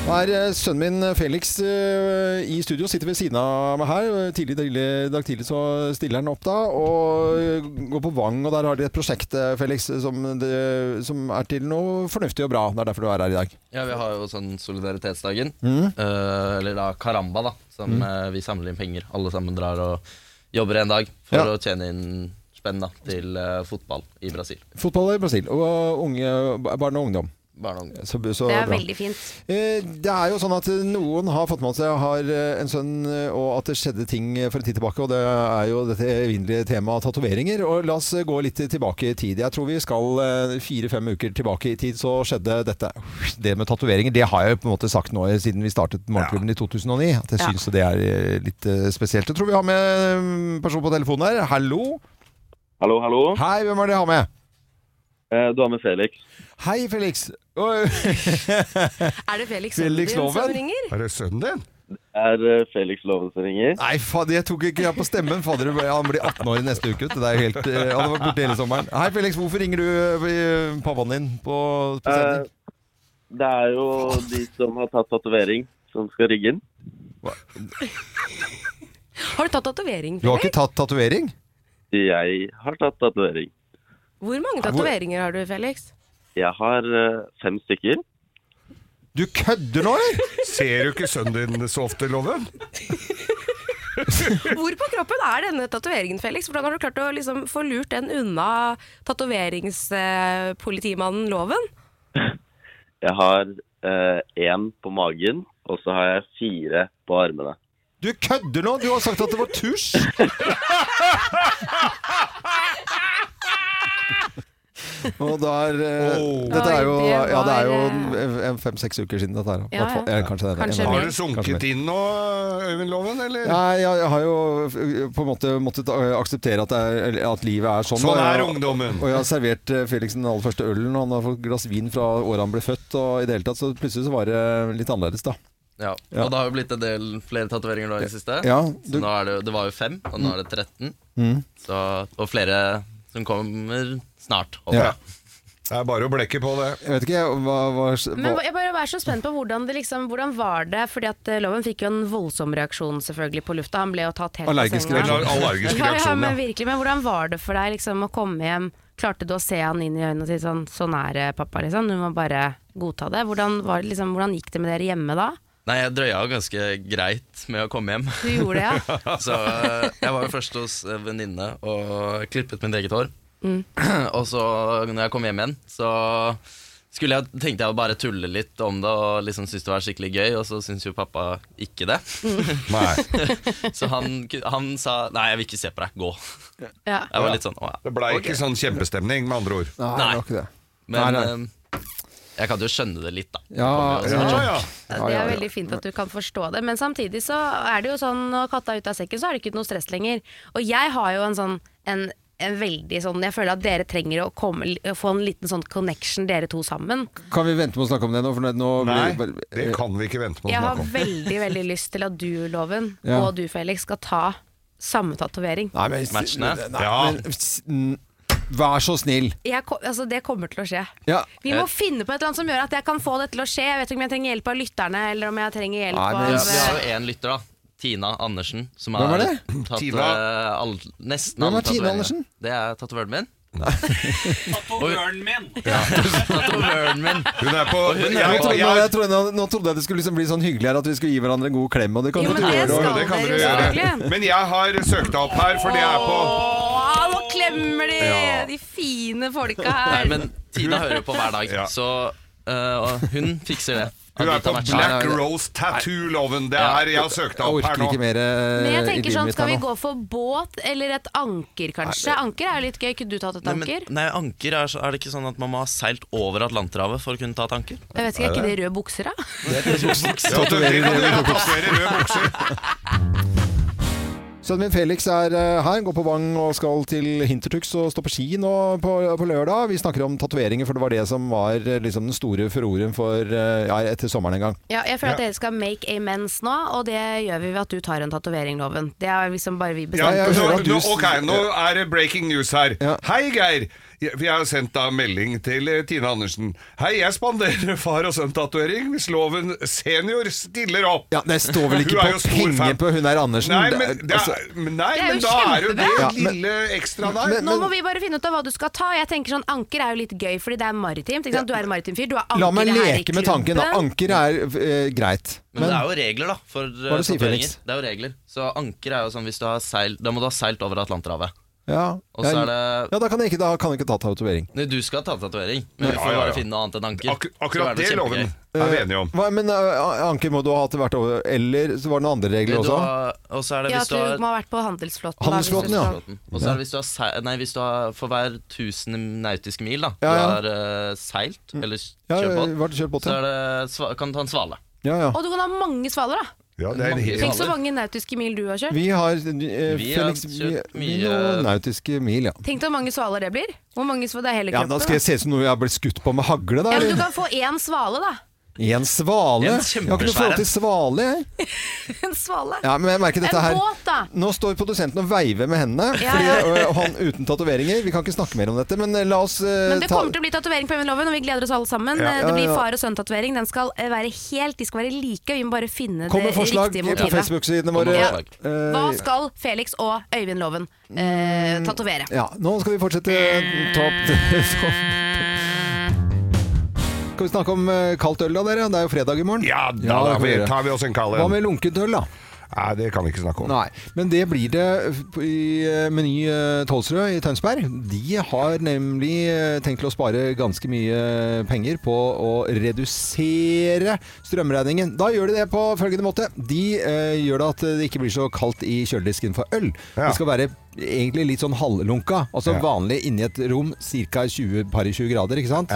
Speaker 1: Nå er eh, sønnen min Felix eh, i studio, sitter ved siden av meg her. Tidlig, tidlig dag tidlig så stiller han opp da, og eh, går på Vang. Og der har de et prosjekt, eh, Felix, som, det, som er til noe fornuftig og bra. Det er derfor du er her i dag.
Speaker 13: Ja, vi har jo sånn solidaritetsdagen.
Speaker 1: Mm.
Speaker 13: Eh, eller da Karamba, da. Som
Speaker 1: Mm.
Speaker 13: eh, vi samler inn penger. Alle sammen drar og jobber en dag for
Speaker 1: Ja.
Speaker 13: å tjene inn spenn da, til eh, fotball i Brasil.
Speaker 1: Fotball i Brasil, og unge, barn og ungdom.
Speaker 13: Barn og ungdom.
Speaker 1: Så, så
Speaker 10: det er
Speaker 1: bra.
Speaker 10: veldig fint.
Speaker 1: Eh, Det er jo sånn at noen har fått med seg har eh, en sønn, eh, og at det skjedde ting eh, for en tid tilbake. Og det er jo dette evinnelige temaet tatoveringer. Og la oss eh, gå litt tilbake i tid. Jeg tror vi skal eh, fire-fem uker tilbake i tid, så skjedde dette. Det med tatoveringer, det har jeg jo på en måte sagt nå eh, siden vi startet Morgenklubben i 2009. At jeg
Speaker 14: Ja.
Speaker 1: syns det er eh, litt eh, spesielt. Jeg tror vi har med en person på telefonen her. Hallo.
Speaker 14: Hallo, hallo.
Speaker 1: Hei, hvem er det jeg har med?
Speaker 14: Eh, Du har med Felix.
Speaker 1: Hei, Felix. Oi.
Speaker 10: Er det Felix, Sandvin
Speaker 14: Felix
Speaker 10: som
Speaker 14: Loven?
Speaker 10: ringer?
Speaker 14: Er det sønnen din? Er eh, Felix Loven som ringer?
Speaker 1: Nei, faen, jeg tok ikke jeg på stemmen. Fader, han blir 18 år i neste uke. vet du. Det er jo helt, eh, han har vært borte hele sommeren. Hei, Felix, hvorfor ringer du eh, pappaen din på, på sending?
Speaker 14: Eh, det er jo de som har tatt tatovering, som skal rigge den.
Speaker 10: Har du tatt tatovering?
Speaker 1: Du har
Speaker 10: Felix?
Speaker 1: ikke tatt tatovering?
Speaker 14: Jeg har tatt tatovering.
Speaker 10: Hvor mange tatoveringer har du, Felix?
Speaker 14: Jeg har eh, fem stykker.
Speaker 1: Du kødder nå, eller?
Speaker 2: Ser du ikke sønnen din så ofte, Loven?
Speaker 10: Hvor på kroppen er denne tatoveringen, Felix? Hvordan har du klart å liksom få lurt den unna tatoveringspolitimannen Loven?
Speaker 14: Jeg har én på magen, og så har jeg fire på armene.
Speaker 1: Du kødder nå! Du har sagt at det var tusj! Og da er eh, Dette er jo,
Speaker 2: Oi, det
Speaker 1: ja, det er jo
Speaker 2: var, eh,
Speaker 1: en- en fem-seks uker siden dette her. da.
Speaker 2: Ja,
Speaker 1: Hvertfall-
Speaker 2: ja.
Speaker 1: eller kanskje det er- en-
Speaker 2: Har du
Speaker 1: kanskje mer.
Speaker 2: sunket inn nå, Øyvind Loven, eller?
Speaker 1: Ja, jeg, jeg har jo eh, på en måte måttet eh, akseptere at, det er, at livet er sånn.
Speaker 2: Sånn
Speaker 1: og jeg-
Speaker 2: er ungdommen.
Speaker 1: Og jeg har servert eh, Felix den aller første ølen, og han har fått et glass vin fra året han ble født. Og i det hele tatt, så plutselig så var det litt annerledes, da.
Speaker 13: Ja.
Speaker 1: Ja.
Speaker 13: Og det har jo blitt en del flere tatoveringer nå i det siste.
Speaker 1: Ja, du-
Speaker 13: Så nå er det, jo- det var jo fem, og nå er det 13.
Speaker 1: Mm.
Speaker 13: Så, og flere som kommer snart. håper
Speaker 1: Ja.
Speaker 13: jeg.
Speaker 2: Det er bare å blekke på det.
Speaker 1: Jeg vet ikke, hva, hva, hva
Speaker 10: Men jeg bare er så spent på hvordan det liksom Hvordan var det? Fordi at eh, Loven fikk jo en voldsom reaksjon selvfølgelig på lufta. Han ble jo tatt helt
Speaker 1: Allergisk
Speaker 10: på senga.
Speaker 1: reaksjon. Eller allergisk
Speaker 10: Sånn ja, ja,
Speaker 1: reaksjon,
Speaker 10: men
Speaker 1: ja.
Speaker 10: virkelig. Men hvordan var det for deg liksom å komme hjem? Klarte du å se han inn i øynene og si sånn Sånn er det, pappa, liksom. Du må bare godta det. Hvordan, var det, liksom, hvordan gikk det med dere hjemme da?
Speaker 13: Nei, jeg drøya jo ganske greit med å komme hjem.
Speaker 10: Du gjorde det,
Speaker 1: Altså,
Speaker 13: så eh, jeg var jo først hos eh, venninne og klippet mitt eget hår.
Speaker 10: Mm.
Speaker 13: og så, når jeg kom hjem igjen, så skulle jeg, tenkte jeg å bare tulle litt om det og liksom syntes det var skikkelig gøy, og så syntes jo pappa ikke det. så han, han sa nei, jeg vil ikke se på deg, gå.
Speaker 10: Ja.
Speaker 13: Jeg var litt sånn å ja.
Speaker 2: Det blei
Speaker 13: ok.
Speaker 2: ikke sånn kjempestemning, med andre ord.
Speaker 13: Nei, det var ikke
Speaker 1: det.
Speaker 13: Men
Speaker 2: Nei,
Speaker 13: eh, Jeg kan jo skjønne det litt, da.
Speaker 1: Ja,
Speaker 13: Det kommer jo også.
Speaker 3: Det er veldig fint at du kan forstå det. Men samtidig så er det jo sånn når katta er ute av sekken, så er det ikke noe stress lenger. Og jeg har jo en sånn en, en veldig sånn Jeg føler at dere trenger å komme, få en liten sånn connection, dere to sammen.
Speaker 1: Kan vi vente med å snakke om det nå? For nå- nå
Speaker 2: Nei, det kan vi ikke vente på å
Speaker 3: Jeg har
Speaker 2: snakke om.
Speaker 3: veldig veldig lyst til at du, Loven,
Speaker 1: Ja.
Speaker 3: og du, Felix, skal ta samme tatovering.
Speaker 1: Nei, men, Nei, men, s- n- vær så snill.
Speaker 3: Jeg, ko- altså, det kommer til å skje.
Speaker 1: Ja.
Speaker 3: Vi må finne på et eller annet som gjør at jeg kan få det til å skje. Jeg vet ikke om jeg trenger hjelp av lytterne, eller om jeg trenger hjelp
Speaker 13: Nei,
Speaker 3: av
Speaker 13: men, vi har jo én lytter, da. Tina Andersen. Som
Speaker 3: Hvem
Speaker 13: har
Speaker 3: er det?
Speaker 13: Tatt,
Speaker 3: Tina?
Speaker 13: eh, all, nesten
Speaker 1: Hvem
Speaker 13: alle
Speaker 1: er Tina
Speaker 13: tatoveringene.
Speaker 1: Andersen?
Speaker 13: Det er tatovøren min.
Speaker 5: Tatovøren min!
Speaker 13: Ja. Tatovøren min.
Speaker 2: Hun er på-
Speaker 13: Og
Speaker 1: Men
Speaker 13: hun
Speaker 1: jeg,
Speaker 13: er på
Speaker 1: trodde, nå- jeg trodde, nå trodde jeg det skulle liksom bli sånn hyggelig her at vi skulle gi hverandre en god klem. Og det kan
Speaker 3: Jo,
Speaker 1: du
Speaker 3: men det
Speaker 1: gjøre.
Speaker 3: skal
Speaker 1: og-
Speaker 3: Det kan dere dere gjøre. selvfølgelig.
Speaker 2: Men jeg har søkt deg opp her, for det er på
Speaker 3: Åh, nå klemmer de!
Speaker 13: Ja.
Speaker 3: De fine folka
Speaker 13: Nei,
Speaker 3: her.
Speaker 13: men Tina hører jo på hver dag, så eh, og hun fikser det.
Speaker 2: Hun er
Speaker 13: Anita
Speaker 2: på
Speaker 13: matcher.
Speaker 2: Black
Speaker 13: Nei, nei,
Speaker 2: Rose Tattoo-loven. Det er jeg har søkt deg opp her nå.
Speaker 1: Orker ikke mer, eh,
Speaker 3: Men jeg tenker sånn, skal vi gå for båt eller et anker, kanskje? Anker er jo litt gøy. Kunne du tatt et
Speaker 13: Nei, men,
Speaker 3: anker?
Speaker 13: nei, anker er, så- er det ikke sånn at man må ha seilt over Atlanterhavet for å kunne ta et anker?
Speaker 3: Jeg vet ikke, er ikke det røde bukser, da?
Speaker 1: Sønnen min Felix er eh, her, går på Vang og skal til Hintertux og stå på ski nå på, på lørdag. Vi snakker om tatoveringer, for det var det som var eh, liksom den store furoreen for eh, ja, etter sommeren en gang.
Speaker 3: Ja, jeg føler at dere skal make amends nå, og det gjør vi ved at du tar en tatovering, Loven. Det er liksom bare vi
Speaker 2: Ja,
Speaker 3: bestemmer.
Speaker 2: nå, nå, ok, nå er det breaking news her. Hei, Geir! Jeg for jeg har sendt da melding til eh, Tine Andersen. Hei, jeg spanderer far og sønn-tatovering hvis loven senior stiller opp.
Speaker 1: Ja, Det står vel
Speaker 2: Hun
Speaker 1: ikke
Speaker 2: er
Speaker 1: på
Speaker 2: jo stor
Speaker 1: penger
Speaker 2: fan.
Speaker 1: på hun der Andersen.
Speaker 2: Nei,
Speaker 1: Det-
Speaker 2: men, det er,
Speaker 1: altså-
Speaker 2: men nei,
Speaker 3: Det er
Speaker 2: men
Speaker 3: jo
Speaker 2: da er jo det
Speaker 3: kjempebra.
Speaker 1: Ja, men-
Speaker 2: lille ekstra der.
Speaker 1: Men-
Speaker 3: Nå må vi bare finne ut av hva du skal ta. Jeg tenker sånn, Anker er jo litt gøy, fordi det er maritimt. Ikke sant? Du er en maritim fyr. Du har anker
Speaker 1: La meg
Speaker 3: her i
Speaker 1: leke med tanken. da.
Speaker 3: klubben.
Speaker 1: Anker er eh, greit.
Speaker 13: Men, det er jo regler, da. For
Speaker 1: Hva er det du sier,
Speaker 13: tatoveringer.
Speaker 1: Felix?
Speaker 13: Det er jo regler. Så anker er jo sånn hvis du har seilt Da må du ha seilt over Atlanterhavet.
Speaker 1: ja,
Speaker 13: Og så er det
Speaker 1: ja, da kan jeg ikke, da kan jeg ikke ta tatovering.
Speaker 13: Nei, du skal ta tatovering, men vi
Speaker 1: Ja, ja,
Speaker 13: får
Speaker 1: ja.
Speaker 13: bare finne noe annet enn anker.
Speaker 2: Ak- akkurat
Speaker 13: Så er
Speaker 2: det er loven. Er vi enige om?
Speaker 1: Hva, men eh, Anker må du ha til hvert år, eller så var det noen andre regler
Speaker 13: Du
Speaker 1: også?
Speaker 13: har- Og så er det
Speaker 3: Ja,
Speaker 13: hvis
Speaker 3: at
Speaker 13: du
Speaker 3: du
Speaker 13: har
Speaker 3: må ha vært på handelsflåten. da, hvis du
Speaker 13: Handelsflåten,
Speaker 3: skal-
Speaker 13: Og så er det hvis du har sei- Nei, hvis du har for hver 1000 nautiske mil, da.
Speaker 1: Ja, ja.
Speaker 13: Du har eh, seilt, eller
Speaker 1: Ja,
Speaker 13: kjørt båt.
Speaker 1: ja, vært og kjørt båt,
Speaker 13: så
Speaker 1: ja.
Speaker 13: er det, sva- kan du ta en svale.
Speaker 1: Ja, ja.
Speaker 3: Og du kan ha mange svaler, da.
Speaker 2: Ja,
Speaker 13: det er en hel-
Speaker 3: Tenk så mange nautiske mil du har kjørt.
Speaker 1: Vi har, eh,
Speaker 13: Vi har
Speaker 1: Felix, vi,
Speaker 13: kjørt
Speaker 1: vi
Speaker 13: mye-
Speaker 1: noen nautiske mil, ja.
Speaker 3: Tenk deg hvor mange svaler det blir. Hvor mange svaler det er hele
Speaker 1: ja
Speaker 3: kroppen.
Speaker 1: da skal jeg se ut som noe jeg har blitt skutt på med hagle, da.
Speaker 3: Ja, men du
Speaker 1: eller?
Speaker 3: kan få én svale, da.
Speaker 1: En svale?
Speaker 13: En
Speaker 1: Jeg har ikke noe forhold til svale, jeg.
Speaker 3: En svale.
Speaker 1: Ja, men jeg merker dette her.
Speaker 3: En båt, da.
Speaker 1: Nå står produsenten og veiver med hendene.
Speaker 3: Ja,
Speaker 1: Fordi,
Speaker 3: ja.
Speaker 1: og- og han uten tatoveringer. Vi kan ikke snakke mer om dette, men eh, la oss eh,
Speaker 3: Men det
Speaker 1: ta
Speaker 3: kommer til å bli tatovering på Even-loven, og vi gleder oss alle sammen.
Speaker 1: Ja.
Speaker 3: Eh, Det
Speaker 1: Ja,
Speaker 3: blir
Speaker 1: ja.
Speaker 3: far- og sønn-tatovering. Den skal eh, være helt, de skal være like, vi må bare finne
Speaker 1: Kom med
Speaker 3: det
Speaker 1: forslag
Speaker 3: riktige
Speaker 1: på
Speaker 3: motivet.
Speaker 1: Facebook-sidene våre.
Speaker 3: Ja.
Speaker 1: Eh, Mm.
Speaker 3: Hva skal Felix og Øyvind-loven eh, tatovere?
Speaker 1: Ja, nå skal vi fortsette topp Skal vi snakke om eh, kaldt øl da, dere? Det er jo fredag i morgen. Ja,
Speaker 2: Da
Speaker 1: det
Speaker 2: da
Speaker 1: kan vi gjøre.
Speaker 2: tar vi oss en kald
Speaker 1: Hva
Speaker 2: en.
Speaker 1: med lunkent øl, da?
Speaker 2: Nei, det kan vi ikke snakke om.
Speaker 1: Nei, men det blir det f- i eh, Meny eh, Tolsrød i Tønsberg. De har nemlig eh, tenkt til å spare ganske mye eh, penger på å redusere strømregningen. Da gjør de det på følgende måte. De eh, gjør det at det ikke blir så kaldt i kjøledisken for øl. Det skal være egentlig litt sånn halvlunka. Altså
Speaker 2: Ja.
Speaker 1: vanlig inni et rom ca. 20 par i 20 grader, ikke sant?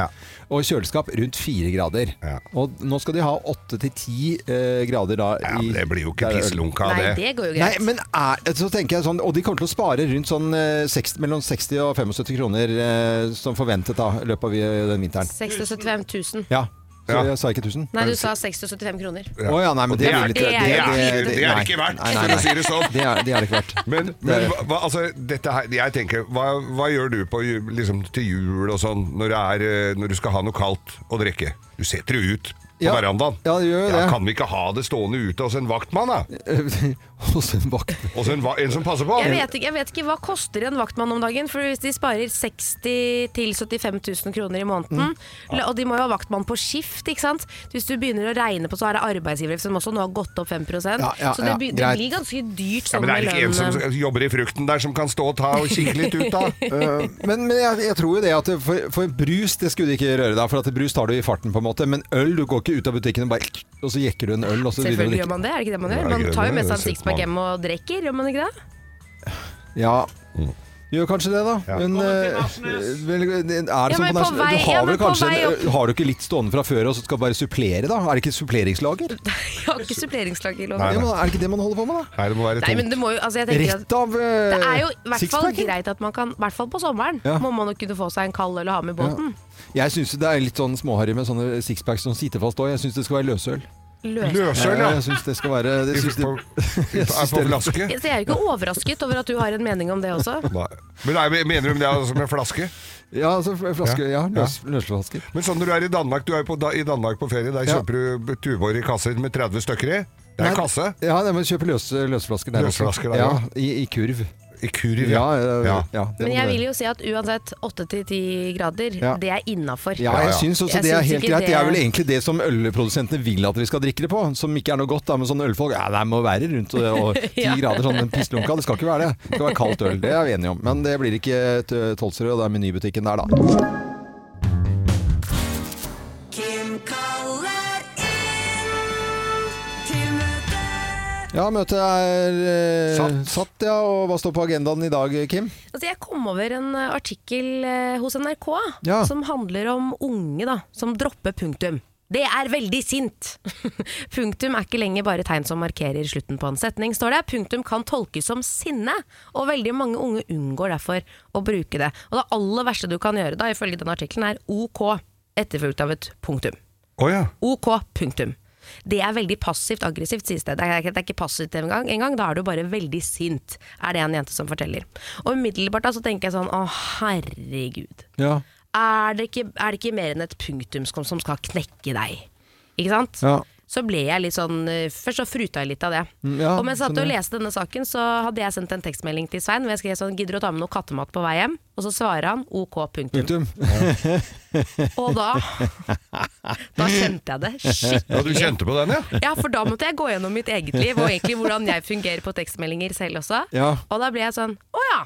Speaker 1: Og kjøleskap rundt 4 grader. Og nå skal de ha 8-10 eh, grader da. Ja, men
Speaker 2: det blir jo ikke pisslunka av Nei, det. det går jo
Speaker 1: Nei,
Speaker 2: greit.
Speaker 1: men er, så tenker jeg sånn, og de kommer til å spare rundt sånn eh, 60, mellom 60 og 75 kroner eh, som forventet da, i løpet av eh, den vinteren.
Speaker 3: 675 000.
Speaker 1: Ja, så
Speaker 2: Ja.
Speaker 1: jeg sa ikke 1000.
Speaker 3: Nei, du sa 675 kroner.
Speaker 1: Å ja, nei, men
Speaker 2: Og
Speaker 1: det, blir litt-
Speaker 2: det er, det er, det er,
Speaker 1: nei.
Speaker 2: ikke verdt,
Speaker 1: Nei, nei,
Speaker 2: for å
Speaker 1: nei.
Speaker 2: si det sånn.
Speaker 1: Det er det er ikke verdt.
Speaker 2: Men, men hva, hva- altså, dette her, jeg tenker, hva, hva gjør du på, ju- liksom, til jul og sånn, når, det er, eh, når du skal ha noe kaldt å drikke? Du setter jo ut på
Speaker 1: Ja.
Speaker 2: verandaen.
Speaker 1: Ja, det gjør jo
Speaker 2: Ja,
Speaker 1: det.
Speaker 2: kan vi ikke ha det stående ute hos en vaktmann, da?
Speaker 1: hos en vaktmann?
Speaker 2: Hos en, va en som passer på?
Speaker 3: Jeg vet, ikke, jeg vet ikke hva koster en vaktmann om dagen. For hvis de sparer 60 til 75 000 kroner i
Speaker 15: Mm.
Speaker 3: måneden, la- og de må jo ha vaktmann på skift, ikke sant. Hvis du begynner å regne på, så er det arbeidsgiver som også nå har gått opp 5
Speaker 2: Ja, ja,
Speaker 3: Så det,
Speaker 2: ja,
Speaker 3: by- det
Speaker 2: greit.
Speaker 3: blir ganske dyrt
Speaker 2: Ja,
Speaker 3: sånn
Speaker 2: men det er
Speaker 3: med
Speaker 2: ikke en som
Speaker 3: lønn.
Speaker 2: jobber i frukten der som kan stå og ta og kikke litt ut, da?
Speaker 1: Eh, men men jeg, jeg tror jo det at det- for, for brus det skulle de ikke røre da, for at brus tar du i farten på en måte, men øl, du går ikke ut av butikken og bare og så jekker du en øl og så begynner du å
Speaker 3: Selvfølgelig
Speaker 1: drikke.
Speaker 3: gjør man det, er det ikke det man
Speaker 1: Ja,
Speaker 3: gjør? Man
Speaker 1: greit,
Speaker 3: tar
Speaker 1: det
Speaker 3: jo med
Speaker 1: er
Speaker 3: seg en
Speaker 1: jo
Speaker 3: sixpack
Speaker 1: sunt
Speaker 3: hjem og drikker, gjør man ikke det?
Speaker 1: Mm. Ja. Gjør kanskje det, da. Men, eh, vel, er det sånn
Speaker 3: men
Speaker 1: på
Speaker 3: på
Speaker 1: nasjonal-
Speaker 3: vei-
Speaker 1: du har
Speaker 3: ja, men
Speaker 1: vel
Speaker 3: på
Speaker 1: kanskje eh,
Speaker 3: vei opp.
Speaker 1: Har du ikke litt stående fra før og så skal bare supplere, da? Er det ikke suppleringslager?
Speaker 3: Jeg har ikke suppleringslag i
Speaker 1: Ja, men
Speaker 3: loven.
Speaker 1: er det ikke det man holder på med, da?
Speaker 2: Nei, det må være
Speaker 3: Nei, men det må jo, altså jeg tenker at
Speaker 1: Rett av eh,
Speaker 3: det er jo i hvert fall
Speaker 1: sixpacken?
Speaker 3: greit at man kan, i hvert fall på sommeren,
Speaker 1: Ja.
Speaker 3: må man jo kunne få seg en kald øl å ha med i båten.
Speaker 1: Jeg syns det er litt sånn småharry med sånne sixpacks som sitter fast òg. Jeg syns det skal være løsøl.
Speaker 3: Løs-
Speaker 1: Ja, Jeg syns det skal være det syns det, jeg syns det er litt-
Speaker 3: Så jeg er jo ikke overrasket over at du har en mening om det også.
Speaker 2: Men nei, Mener du det altså med flaske?
Speaker 1: Ja, altså flaske, ja, løs- løsflaske.
Speaker 2: Men sånn når du er i Danmark, du er på, da, i Danmark på ferie, der
Speaker 1: Ja.
Speaker 2: kjøper du tuborg i kasser med 30 stykker i. Det er
Speaker 1: Nei,
Speaker 2: kasse.
Speaker 1: Ja, nei, men kjøper løse, løsflasker der også.
Speaker 2: Løsflasker der,
Speaker 1: ja.
Speaker 2: ja.
Speaker 1: I, I kurv.
Speaker 2: I kurv,
Speaker 1: ja.
Speaker 2: ja.
Speaker 1: ja,
Speaker 2: Ja.
Speaker 1: ja, det
Speaker 3: Men
Speaker 1: må
Speaker 3: jeg
Speaker 1: det
Speaker 3: vil
Speaker 1: være.
Speaker 3: jo si at uansett 8-10 grader,
Speaker 1: Ja.
Speaker 3: det er innafor.
Speaker 1: ja, jeg syns også det er helt greit. Det er vel egentlig det som ølprodusentene vil at vi skal drikke det på. Som ikke er noe godt, da, men sånn ølfolk ja, Det må være rundt og, og ti
Speaker 3: Ja.
Speaker 1: grader, sånn en pisslunka. Det skal ikke være det. Det skal være kaldt øl. Det er vi enige om. Men det blir ikke t- Tolsrød, og det er menybutikken der, da.
Speaker 12: Kim kaller inn til møte.
Speaker 1: Ja, møtet er eh, satt. ja. Og hva står på agendaen i dag, Kim?
Speaker 3: Altså, jeg kom over en eh, artikkel eh, hos NRK
Speaker 1: Ja.
Speaker 3: som handler om unge da, som dropper punktum. Det er veldig sint! punktum er ikke lenger bare tegn som markerer slutten på en setning, står det. Punktum kan tolkes som sinne, og veldig mange unge unngår derfor å bruke det. Og det aller verste du kan gjøre da, ifølge den artikkelen, er OK, etterfulgt av et punktum.
Speaker 2: Å ja.
Speaker 3: OK, punktum. Det er veldig passivt aggressivt, sies det. Det er, ikke- det er ikke passivt engang, engang, da er du bare veldig sint, er det en jente som forteller. Og umiddelbart da så tenker jeg sånn, å herregud.
Speaker 1: Ja.
Speaker 3: Er det ikke, er det ikke mer enn et punktum som, som skal knekke deg? Ikke sant?
Speaker 1: Ja.
Speaker 3: Så ble jeg litt sånn eh, Først så fruta jeg litt av det.
Speaker 1: Mm, ja,
Speaker 3: og mens jeg satt og
Speaker 1: skjønner.
Speaker 3: leste denne saken, så hadde jeg sendt en tekstmelding til Svein hvor jeg skrev sånn 'Gidder du å ta med noe kattemat på vei hjem?' Og så svarer han OK, punktum.
Speaker 1: Punktum.
Speaker 3: Og da- Da kjente jeg det skikkelig.
Speaker 2: Ja, du kjente på den, ja?
Speaker 3: Ja, for da måtte jeg gå gjennom mitt eget liv, og egentlig hvordan jeg fungerer på tekstmeldinger selv også.
Speaker 2: Ja.
Speaker 3: Og da ble jeg sånn, å ja.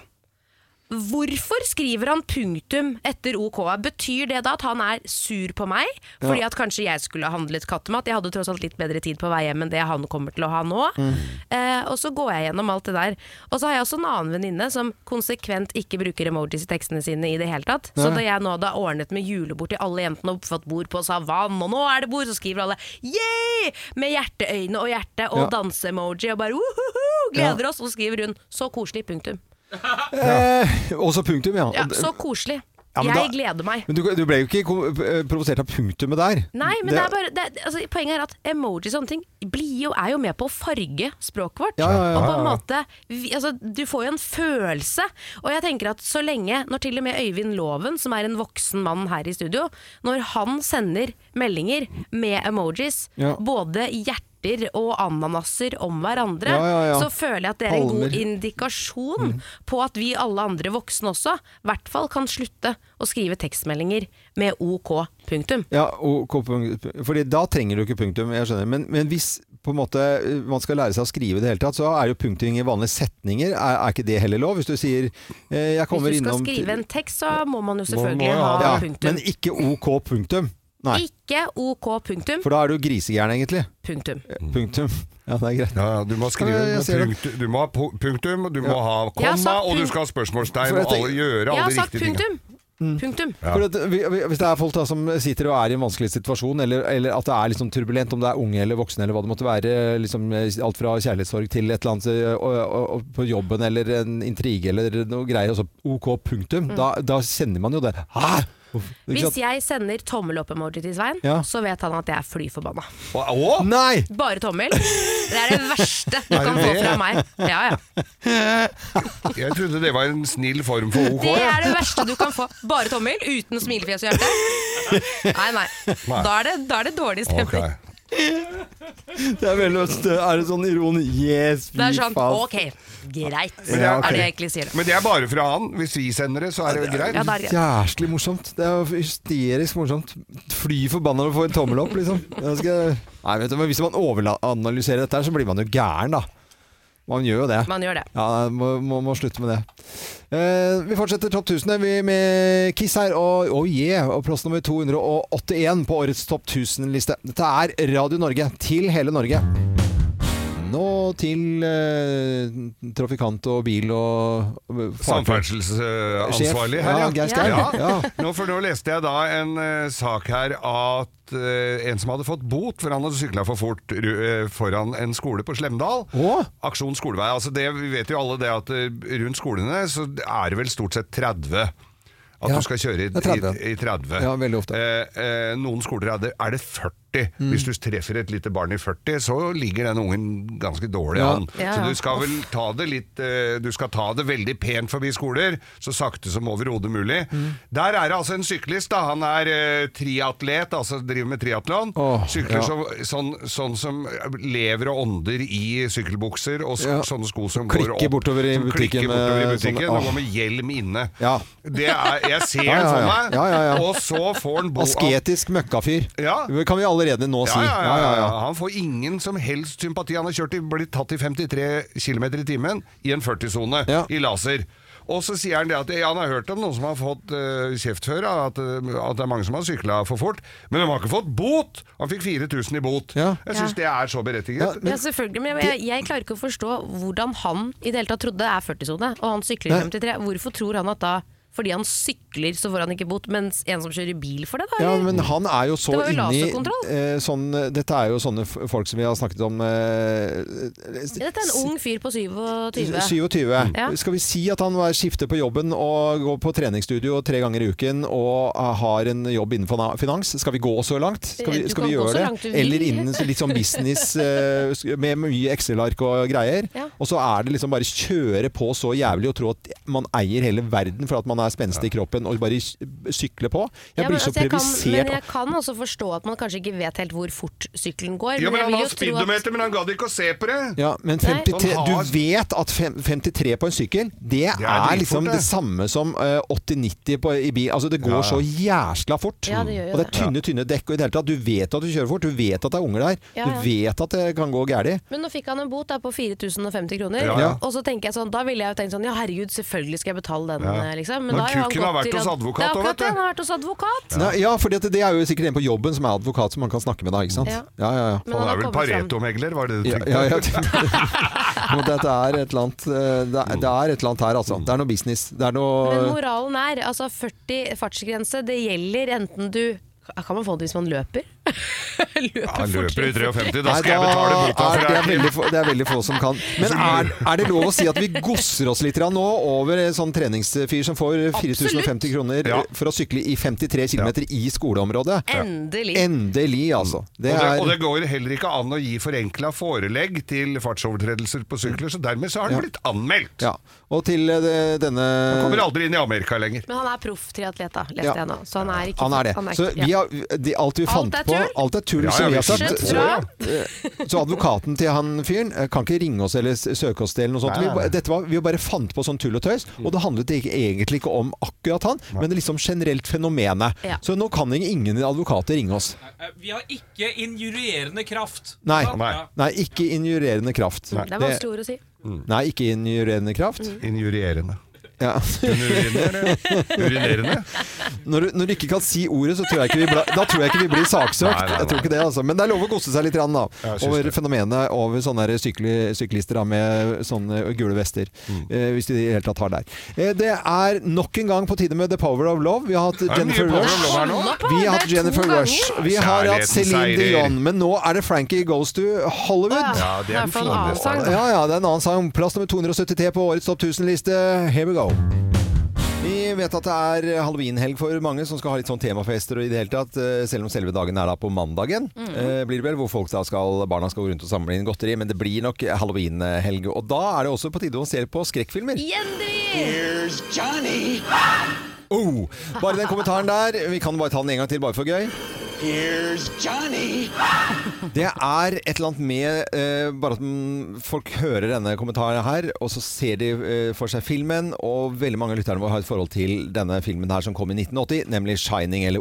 Speaker 3: Hvorfor skriver han punktum etter OK? Betyr det da at han er sur på meg? Fordi
Speaker 10: Ja.
Speaker 3: at kanskje jeg skulle ha handlet kattemat? Jeg hadde tross alt litt bedre tid på vei hjem enn det han kommer til å ha nå.
Speaker 10: Mm.
Speaker 3: Eh, og så går jeg gjennom alt det der. Og så har jeg også en annen venninne som konsekvent ikke bruker emojis i tekstene sine i det hele tatt. Så
Speaker 10: Nei.
Speaker 3: da jeg nå hadde ordnet med julebord til alle jentene og oppfatt bord på savannen, og nå er det bord, så skriver alle yeah! med hjerteøyne og hjerte og
Speaker 10: Ja.
Speaker 3: danseemoji og bare uhuhu, gleder
Speaker 1: Ja.
Speaker 3: oss, og så skriver hun så koselig, punktum.
Speaker 1: Eh, også punktum, ja.
Speaker 3: Ja,
Speaker 1: Og det-
Speaker 3: så koselig.
Speaker 1: Ja, men
Speaker 3: jeg
Speaker 1: da-
Speaker 3: gleder meg.
Speaker 1: Men du, du ble jo ikke ko- eh, provosert av punktumet der.
Speaker 3: Nei, men det, er bare, det, er- altså, poenget er at emoji og sånne ting blir jo, er jo med på å farge språket vårt.
Speaker 1: Ja, ja, ja,
Speaker 3: og på
Speaker 1: ja,
Speaker 3: en
Speaker 1: ja.
Speaker 3: måte, vi, altså, Du får jo en følelse. Og jeg tenker at så lenge, når til og med Øyvind Loven, som er en voksen mann her i studio, når han sender meldinger med emojis,
Speaker 10: Ja.
Speaker 3: både hjerter og ananaser om hverandre,
Speaker 10: Ja, ja, ja.
Speaker 3: så føler jeg at det er en
Speaker 10: Palmer.
Speaker 3: god indikasjon på at vi alle andre voksne også, i hvert fall kan slutte å skrive tekstmeldinger med OK punktum.
Speaker 1: Ja, og, kom- fordi da trenger du ikke punktum, jeg skjønner. Men, men hvis på en måte eh, man skal lære seg å skrive i det hele tatt, så er jo punktum i vanlige setninger. Er, er ikke det heller lov? Hvis du sier eh, 'jeg kommer
Speaker 3: Hvis du skal
Speaker 1: innom
Speaker 3: skrive en tekst, så må man jo
Speaker 1: til-
Speaker 3: selvfølgelig ha
Speaker 1: Ja,
Speaker 3: punktum.
Speaker 1: Men ikke OK punktum. Nei.
Speaker 3: Ikke OK punktum.
Speaker 1: For da er du grisegæren, egentlig.
Speaker 3: Punktum.
Speaker 1: Punktum. Ja, det er greit.
Speaker 2: du må skrive
Speaker 1: jeg,
Speaker 2: med
Speaker 1: ser det.
Speaker 2: punktum, du må ha pu- punktum, du må ha
Speaker 3: Jeg har
Speaker 2: komma,
Speaker 3: sagt
Speaker 2: og du
Speaker 3: punk-
Speaker 2: skal ha spørsmålstegn
Speaker 1: For
Speaker 2: og
Speaker 1: jeg
Speaker 2: alle,
Speaker 1: tenker-
Speaker 2: gjøre
Speaker 3: Jeg
Speaker 2: alle
Speaker 3: har
Speaker 2: de
Speaker 3: sagt
Speaker 2: riktige tingene.
Speaker 3: punktum.
Speaker 1: Mm.
Speaker 3: Punktum.
Speaker 1: For at, vi- vi- hvis det er folk da, som sitter og er i en vanskelig situasjon, eller, eller at det er liksom turbulent, om det er unge eller voksne eller hva det måtte være, liksom, eh, alt fra kjærlighetssorg til et eller annet eh, og, og, og, på jobben eller en intrige eller noe greier, og så OK, punktum,
Speaker 3: Mm.
Speaker 1: da, da kjenner man jo det. Hæ? Uff, ikke sånn sant?
Speaker 3: Hvis jeg sender tommel opp-emoji til Svein,
Speaker 1: Ja.
Speaker 3: så vet han at jeg er fly forbanna.
Speaker 1: Nei!
Speaker 3: Bare tommel. Det er det verste du
Speaker 2: Er det
Speaker 3: kan få
Speaker 2: det?
Speaker 3: fra meg. Ja, ja.
Speaker 2: Jeg trodde det var en snill form for OK.
Speaker 3: Det
Speaker 2: ja.
Speaker 3: er det verste du kan få. Bare tommel, uten smilefjes og hjerte. Nei, nei.
Speaker 2: Nei.
Speaker 3: Da er det, da er det dårlig stemning.
Speaker 1: Det er veldig løst. Er det sånn ironi? Yes, fy
Speaker 3: Det er sånn
Speaker 1: faen.
Speaker 3: ok, greit.
Speaker 2: Men det er-
Speaker 3: Er det jeg egentlig sier.
Speaker 2: Men det er bare fra han. Hvis vi sender det, så er det greit.
Speaker 3: Ja, det er greit.
Speaker 1: Jæslig morsomt. Det er jo hysterisk morsomt. Fly forbanna å få en tommel opp, liksom. Jeg skal... Nei, vet du, men Hvis man overanalyserer dette, her, så blir man jo gæren, da. Man gjør jo det.
Speaker 3: Man gjør det.
Speaker 1: Ja, må, må, må slutte med det. Eh, vi fortsetter Topp 1000 vi med Kiss her, og oh yeah, og plass nummer 281 på årets Topp 1000-liste. Dette er Radio Norge til hele Norge. og til eh, trafikant og bil og
Speaker 2: Samferdselsansvarlig her,
Speaker 1: ja. Geir Skau.
Speaker 2: Ja.
Speaker 1: Ja.
Speaker 2: Nå, for nå leste jeg da en eh, sak her at eh, en som hadde fått bot for han hadde sykla for fort ru- eh, foran en skole på Slemdal. Aksjon skolevei. Altså det, vi vet jo alle det at eh, rundt skolene så er det vel stort sett 30. At
Speaker 1: Ja,
Speaker 2: du skal kjøre i,
Speaker 1: det er 30.
Speaker 2: i, i 30.
Speaker 1: Ja, veldig ofte.
Speaker 2: Eh, eh, noen skoler er det, er det 40.
Speaker 1: Mm.
Speaker 2: Hvis du treffer et lite barn i 40, så ligger den ungen ganske dårlig
Speaker 1: Ja.
Speaker 2: an.
Speaker 1: Ja,
Speaker 2: Så
Speaker 1: ja.
Speaker 2: du skal vel ta det litt eh, Du skal ta det veldig pent forbi skoler, så sakte som overhodet mulig.
Speaker 1: Mm.
Speaker 2: Der er det altså en syklist, da. Han er eh, triatlet, altså driver med triatlon. Sykler
Speaker 1: ja.
Speaker 2: som, sånn, sånn som lever og ånder i sykkelbukser og sko,
Speaker 1: Ja.
Speaker 2: sånne sko som
Speaker 1: Klikker
Speaker 2: går opp.
Speaker 1: bortover i
Speaker 2: som
Speaker 1: butikken
Speaker 2: klikker
Speaker 1: med
Speaker 2: bortover i
Speaker 1: sånne-
Speaker 2: butikken
Speaker 1: Åh.
Speaker 2: og går med hjelm inne.
Speaker 1: Ja.
Speaker 2: Det er, jeg ser
Speaker 1: Ja,
Speaker 2: den
Speaker 1: ja,
Speaker 2: for
Speaker 1: ja.
Speaker 2: meg,
Speaker 1: Ja, ja, ja.
Speaker 2: og så får han bo...
Speaker 1: Asketisk møkkafyr.
Speaker 2: Ja.
Speaker 1: Det kan vi allerede nå si.
Speaker 2: Ja, ja, ja, ja, ja. Han får ingen som helst sympati. Han har kjørt i, blitt tatt i 53 km i timen i en 40-sone i laser. Og så sier han det at ja, han har hørt om noen som har fått eh, kjeft før, ja, at, eh, at det er mange som har sykla for fort, men de har ikke fått bot! Han fikk 4000 i bot. Jeg syns
Speaker 3: Ja.
Speaker 2: det er så berettiget.
Speaker 3: ja, selvfølgelig, men jeg, jeg klarer ikke å forstå hvordan han i det hele tatt trodde det er 40-sone, og han sykler
Speaker 2: Nei.
Speaker 3: 53. Hvorfor tror han at da, fordi han sykler, så får han ikke bot, mens en som kjører bil får det, da?
Speaker 1: Ja,
Speaker 3: eller?
Speaker 1: men han er jo så
Speaker 3: Det var jo
Speaker 1: inni
Speaker 3: laserkontroll.
Speaker 1: eh, sånn, Dette er jo sånne f- folk som vi har snakket om eh,
Speaker 3: Dette er en ung fyr på 27.
Speaker 1: 27.
Speaker 3: Ja.
Speaker 1: Skal vi si at han var- skifter på jobben og går på treningsstudio tre ganger i uken og eh, har en jobb innenfor na- finans? Skal vi gå så langt? Skal
Speaker 3: Du
Speaker 1: vi, skal
Speaker 3: kan
Speaker 1: vi
Speaker 3: gå
Speaker 1: gjøre
Speaker 3: så langt du
Speaker 1: det?
Speaker 3: vil.
Speaker 1: Eller innen litt sånn business eh, med mye Excel-ark og greier.
Speaker 3: Ja.
Speaker 1: Og så er det liksom bare kjøre på så jævlig og tro at man eier hele verden for at man er spenstig i kroppen og bare sykle på. Jeg
Speaker 3: Ja, men
Speaker 1: blir så
Speaker 3: altså, jeg kan-
Speaker 1: previsert.
Speaker 3: Men jeg kan også forstå at man kanskje ikke vet helt hvor fort sykkelen går.
Speaker 2: Ja, men
Speaker 3: jeg
Speaker 2: Han har
Speaker 3: vil jo tro at-
Speaker 2: speedometer, men han gadd ikke å se på det!
Speaker 1: Ja, men
Speaker 3: Nei.
Speaker 1: 53,
Speaker 2: Sånn
Speaker 1: du
Speaker 2: har-
Speaker 1: vet at fem, 53 på en sykkel, det, er,
Speaker 2: dritfort,
Speaker 1: liksom det
Speaker 2: det.
Speaker 1: samme som eh, 80-90 på- i bil. Altså, det
Speaker 2: Ja, ja.
Speaker 1: går så jæsla fort.
Speaker 3: Ja, det gjør jo
Speaker 1: og det er
Speaker 3: det.
Speaker 1: tynne, tynne dekk. Og i det hele tatt, du vet at du kjører fort, du vet at det er unger der.
Speaker 3: Ja, ja.
Speaker 1: Du vet at det kan gå gærlig.
Speaker 3: Men nå fikk han en bot da, på 4050 kroner,
Speaker 1: Ja, ja.
Speaker 3: og så tenker jeg sånn, da ville jeg jo tenkt sånn, ja herregud, selvfølgelig skal jeg betale den,
Speaker 1: Ja.
Speaker 3: eh, liksom.
Speaker 1: Men
Speaker 3: da jo han
Speaker 1: kukken har
Speaker 3: gått
Speaker 1: vært
Speaker 3: til
Speaker 1: hos
Speaker 3: at-
Speaker 1: advokat
Speaker 3: Det er
Speaker 1: også, vet
Speaker 3: akkurat
Speaker 1: du.
Speaker 3: det, han har vært hos advokat.
Speaker 1: Ja, ja for det, det er jo sikkert en på jobben som er advokat som man kan snakke med da, ikke sant?
Speaker 3: Ja.
Speaker 1: Ja, ja, ja.
Speaker 3: Men han
Speaker 2: Han er
Speaker 3: har
Speaker 2: vel
Speaker 3: kommet fram.
Speaker 2: Pareto-megler, var det du
Speaker 1: Ja,
Speaker 2: tenkte?
Speaker 1: ja, ja. Men Dette er et eller annet eh, det er, det er et eller annet her, altså. Det er noe business. Det er
Speaker 3: Men
Speaker 1: noe
Speaker 3: moralen er, altså 40 fartsgrense, det gjelder enten du, kan man få det hvis man løper?
Speaker 2: Han løper i 53, da
Speaker 1: Nei,
Speaker 2: skal jeg betale Altså, bota for
Speaker 1: er- det.
Speaker 2: det
Speaker 1: Er veldig få, det er veldig få som kan. Men er, er det lov å si at vi gosser oss litt grann nå over en sånn treningsfyr som får 4050 kroner for å sykle i 53 km i skoleområdet?
Speaker 3: Endelig.
Speaker 1: Endelig, altså. Det
Speaker 2: og, det,
Speaker 1: er
Speaker 2: og det går heller ikke an å gi forenkla forelegg til fartsovertredelser på sykler, så dermed så har den
Speaker 1: Ja.
Speaker 2: blitt anmeldt.
Speaker 1: Ja. Og til eh, det- denne
Speaker 2: Han kommer aldri inn i Amerika lenger.
Speaker 3: Men han er proff triatlet da, leste
Speaker 1: Ja.
Speaker 3: jeg nå, så han er ikke...
Speaker 1: Han er det. Så
Speaker 3: ikke-
Speaker 1: vi
Speaker 3: ja.
Speaker 1: har, de, alt vi
Speaker 3: Alt
Speaker 1: fant
Speaker 3: er
Speaker 1: på
Speaker 3: tull.
Speaker 1: Alt er tull,
Speaker 3: Ja,
Speaker 1: som
Speaker 3: ja,
Speaker 1: vi har
Speaker 3: vi
Speaker 1: sagt.
Speaker 3: skjønner.
Speaker 1: Så, eh, så advokaten til han fyren eh, kan ikke ringe oss eller s- søke oss til eller noe sånt.
Speaker 2: Nei,
Speaker 1: Vi,
Speaker 2: nei,
Speaker 1: ba-
Speaker 2: nei.
Speaker 1: dette var, vi bare fant på sånn tull og tøys, og det handlet ikke, egentlig ikke om akkurat han, men det liksom generelt fenomenet.
Speaker 16: Ja.
Speaker 1: Så nå kan ing- ingen advokater ringe oss.
Speaker 16: Eh, Vi har ikke injurierende kraft.
Speaker 1: Nei.
Speaker 16: Sant? Ja.
Speaker 1: Nei, ikke injurerende kraft.
Speaker 3: Det er vanskelig ord å si.
Speaker 1: Nei, ikke injurerende kraft.
Speaker 2: Mm. Injurierende.
Speaker 1: Ja.
Speaker 2: Urinerende? Urinerende?
Speaker 1: Når, du- når du ikke kan si ordet, så tror jeg ikke vi, bla, da tror jeg ikke vi blir saksøkt.
Speaker 2: Nei, nei, nei.
Speaker 1: Jeg tror ikke det, altså. Men det er lov å kose seg litt grann, da,
Speaker 2: Ja, jeg syns
Speaker 1: over
Speaker 2: det.
Speaker 1: fenomenet over sånne her sykli, syklister da, med sånne gule vester.
Speaker 2: Mm.
Speaker 1: Eh, hvis de i det hele tatt har det. Eh, det er nok en gang på tide med The Power of Love. Vi har hatt
Speaker 2: Det er mye
Speaker 1: Jennifer
Speaker 2: Power of
Speaker 1: Rush.
Speaker 2: Love her nå.
Speaker 1: Vi har
Speaker 2: Det
Speaker 1: hatt
Speaker 2: er to
Speaker 1: Jennifer
Speaker 2: ganger.
Speaker 1: Rush. Vi har hatt
Speaker 2: Kjærligheten
Speaker 1: Celine
Speaker 2: seirer.
Speaker 1: Dion. Men nå er det Frankie Goes to Hollywood.
Speaker 2: Ja, det er den Det er fra en annen fineste. sang, da.
Speaker 1: Ja, ja, det er en annen sang. Plass nummer 273 på årets topp 1000-liste. Here we go. Vi vet at det er halloweenhelg for mange som skal ha litt sånn temafester og i det hele tatt, eh, selv om selve dagen er da på mandagen,
Speaker 2: Mm.
Speaker 17: Mhm.
Speaker 1: eh, blir det vel, hvor folk da skal, barna skal gå rundt og samle inn godteri, men det blir nok halloweenhelg. Og da er det også på tide å se på skrekkfilmer.
Speaker 12: Here's Johnny.
Speaker 1: Oh, bare den kommentaren der. Vi kan bare ta den en gang til, bare for gøy.
Speaker 12: Here's Johnny.
Speaker 1: Det er et eller annet med eh, Bare at mm, folk hører denne kommentaren her, og så ser de eh, for seg filmen, og veldig mange av lytterne våre har et forhold til denne filmen her som kom i 1980, nemlig 'Shining', eller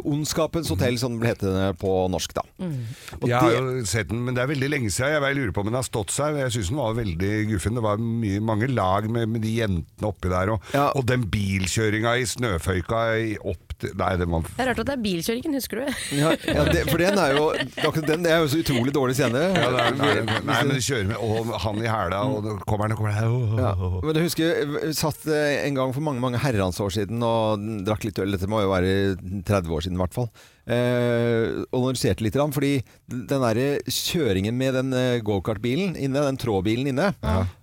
Speaker 2: Mhm.
Speaker 1: 'Ondskapens hotell', som den ble hetende på norsk, da.
Speaker 2: Mm. Jeg har jo sett den, men det er veldig lenge siden. Jeg bare lurer på om den har stått seg. Jeg syns den var veldig guffen. Det var mye, mange lag med, med de jentene oppi der, og, og den bilkjøringa i snøføyka i- opp det- Nei, det var
Speaker 3: Det er rart at det er bilkjøringen, husker du?
Speaker 1: Ja, ja, det, for den er jo akkurat Den er jo så utrolig dårlig scene.
Speaker 2: ja, det er, nei, nei, nei, men de kjører med og han i hæla, og da kommer han og kommer han
Speaker 1: Ja. Men jeg husker jeg satt eh, en gang for mange mange herrens år siden og drakk litt øl. Dette må jo være 30 år siden i hvert fall. Eh, og lanserte litt, grann, fordi den der eh, kjøringen med den eh, gokartbilen inne, den trådbilen inne,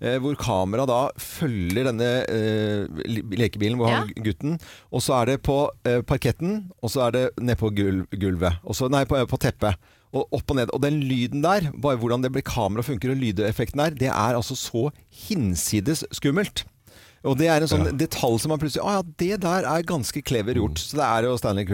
Speaker 1: eh, hvor kamera da følger denne eh, li- lekebilen hvor han gutten, og så er det på eh, parketten, og så er det ned på gul gulvet. Og så, nei, på, på teppet. Og opp og ned. Og den lyden der, bare hvordan det blir kamera funker, og lydeffekten der, det er altså så hinsides skummelt. Og det er en sånn detalj som man plutselig Å ja, det der er ganske clever gjort. Så det er jo Stanley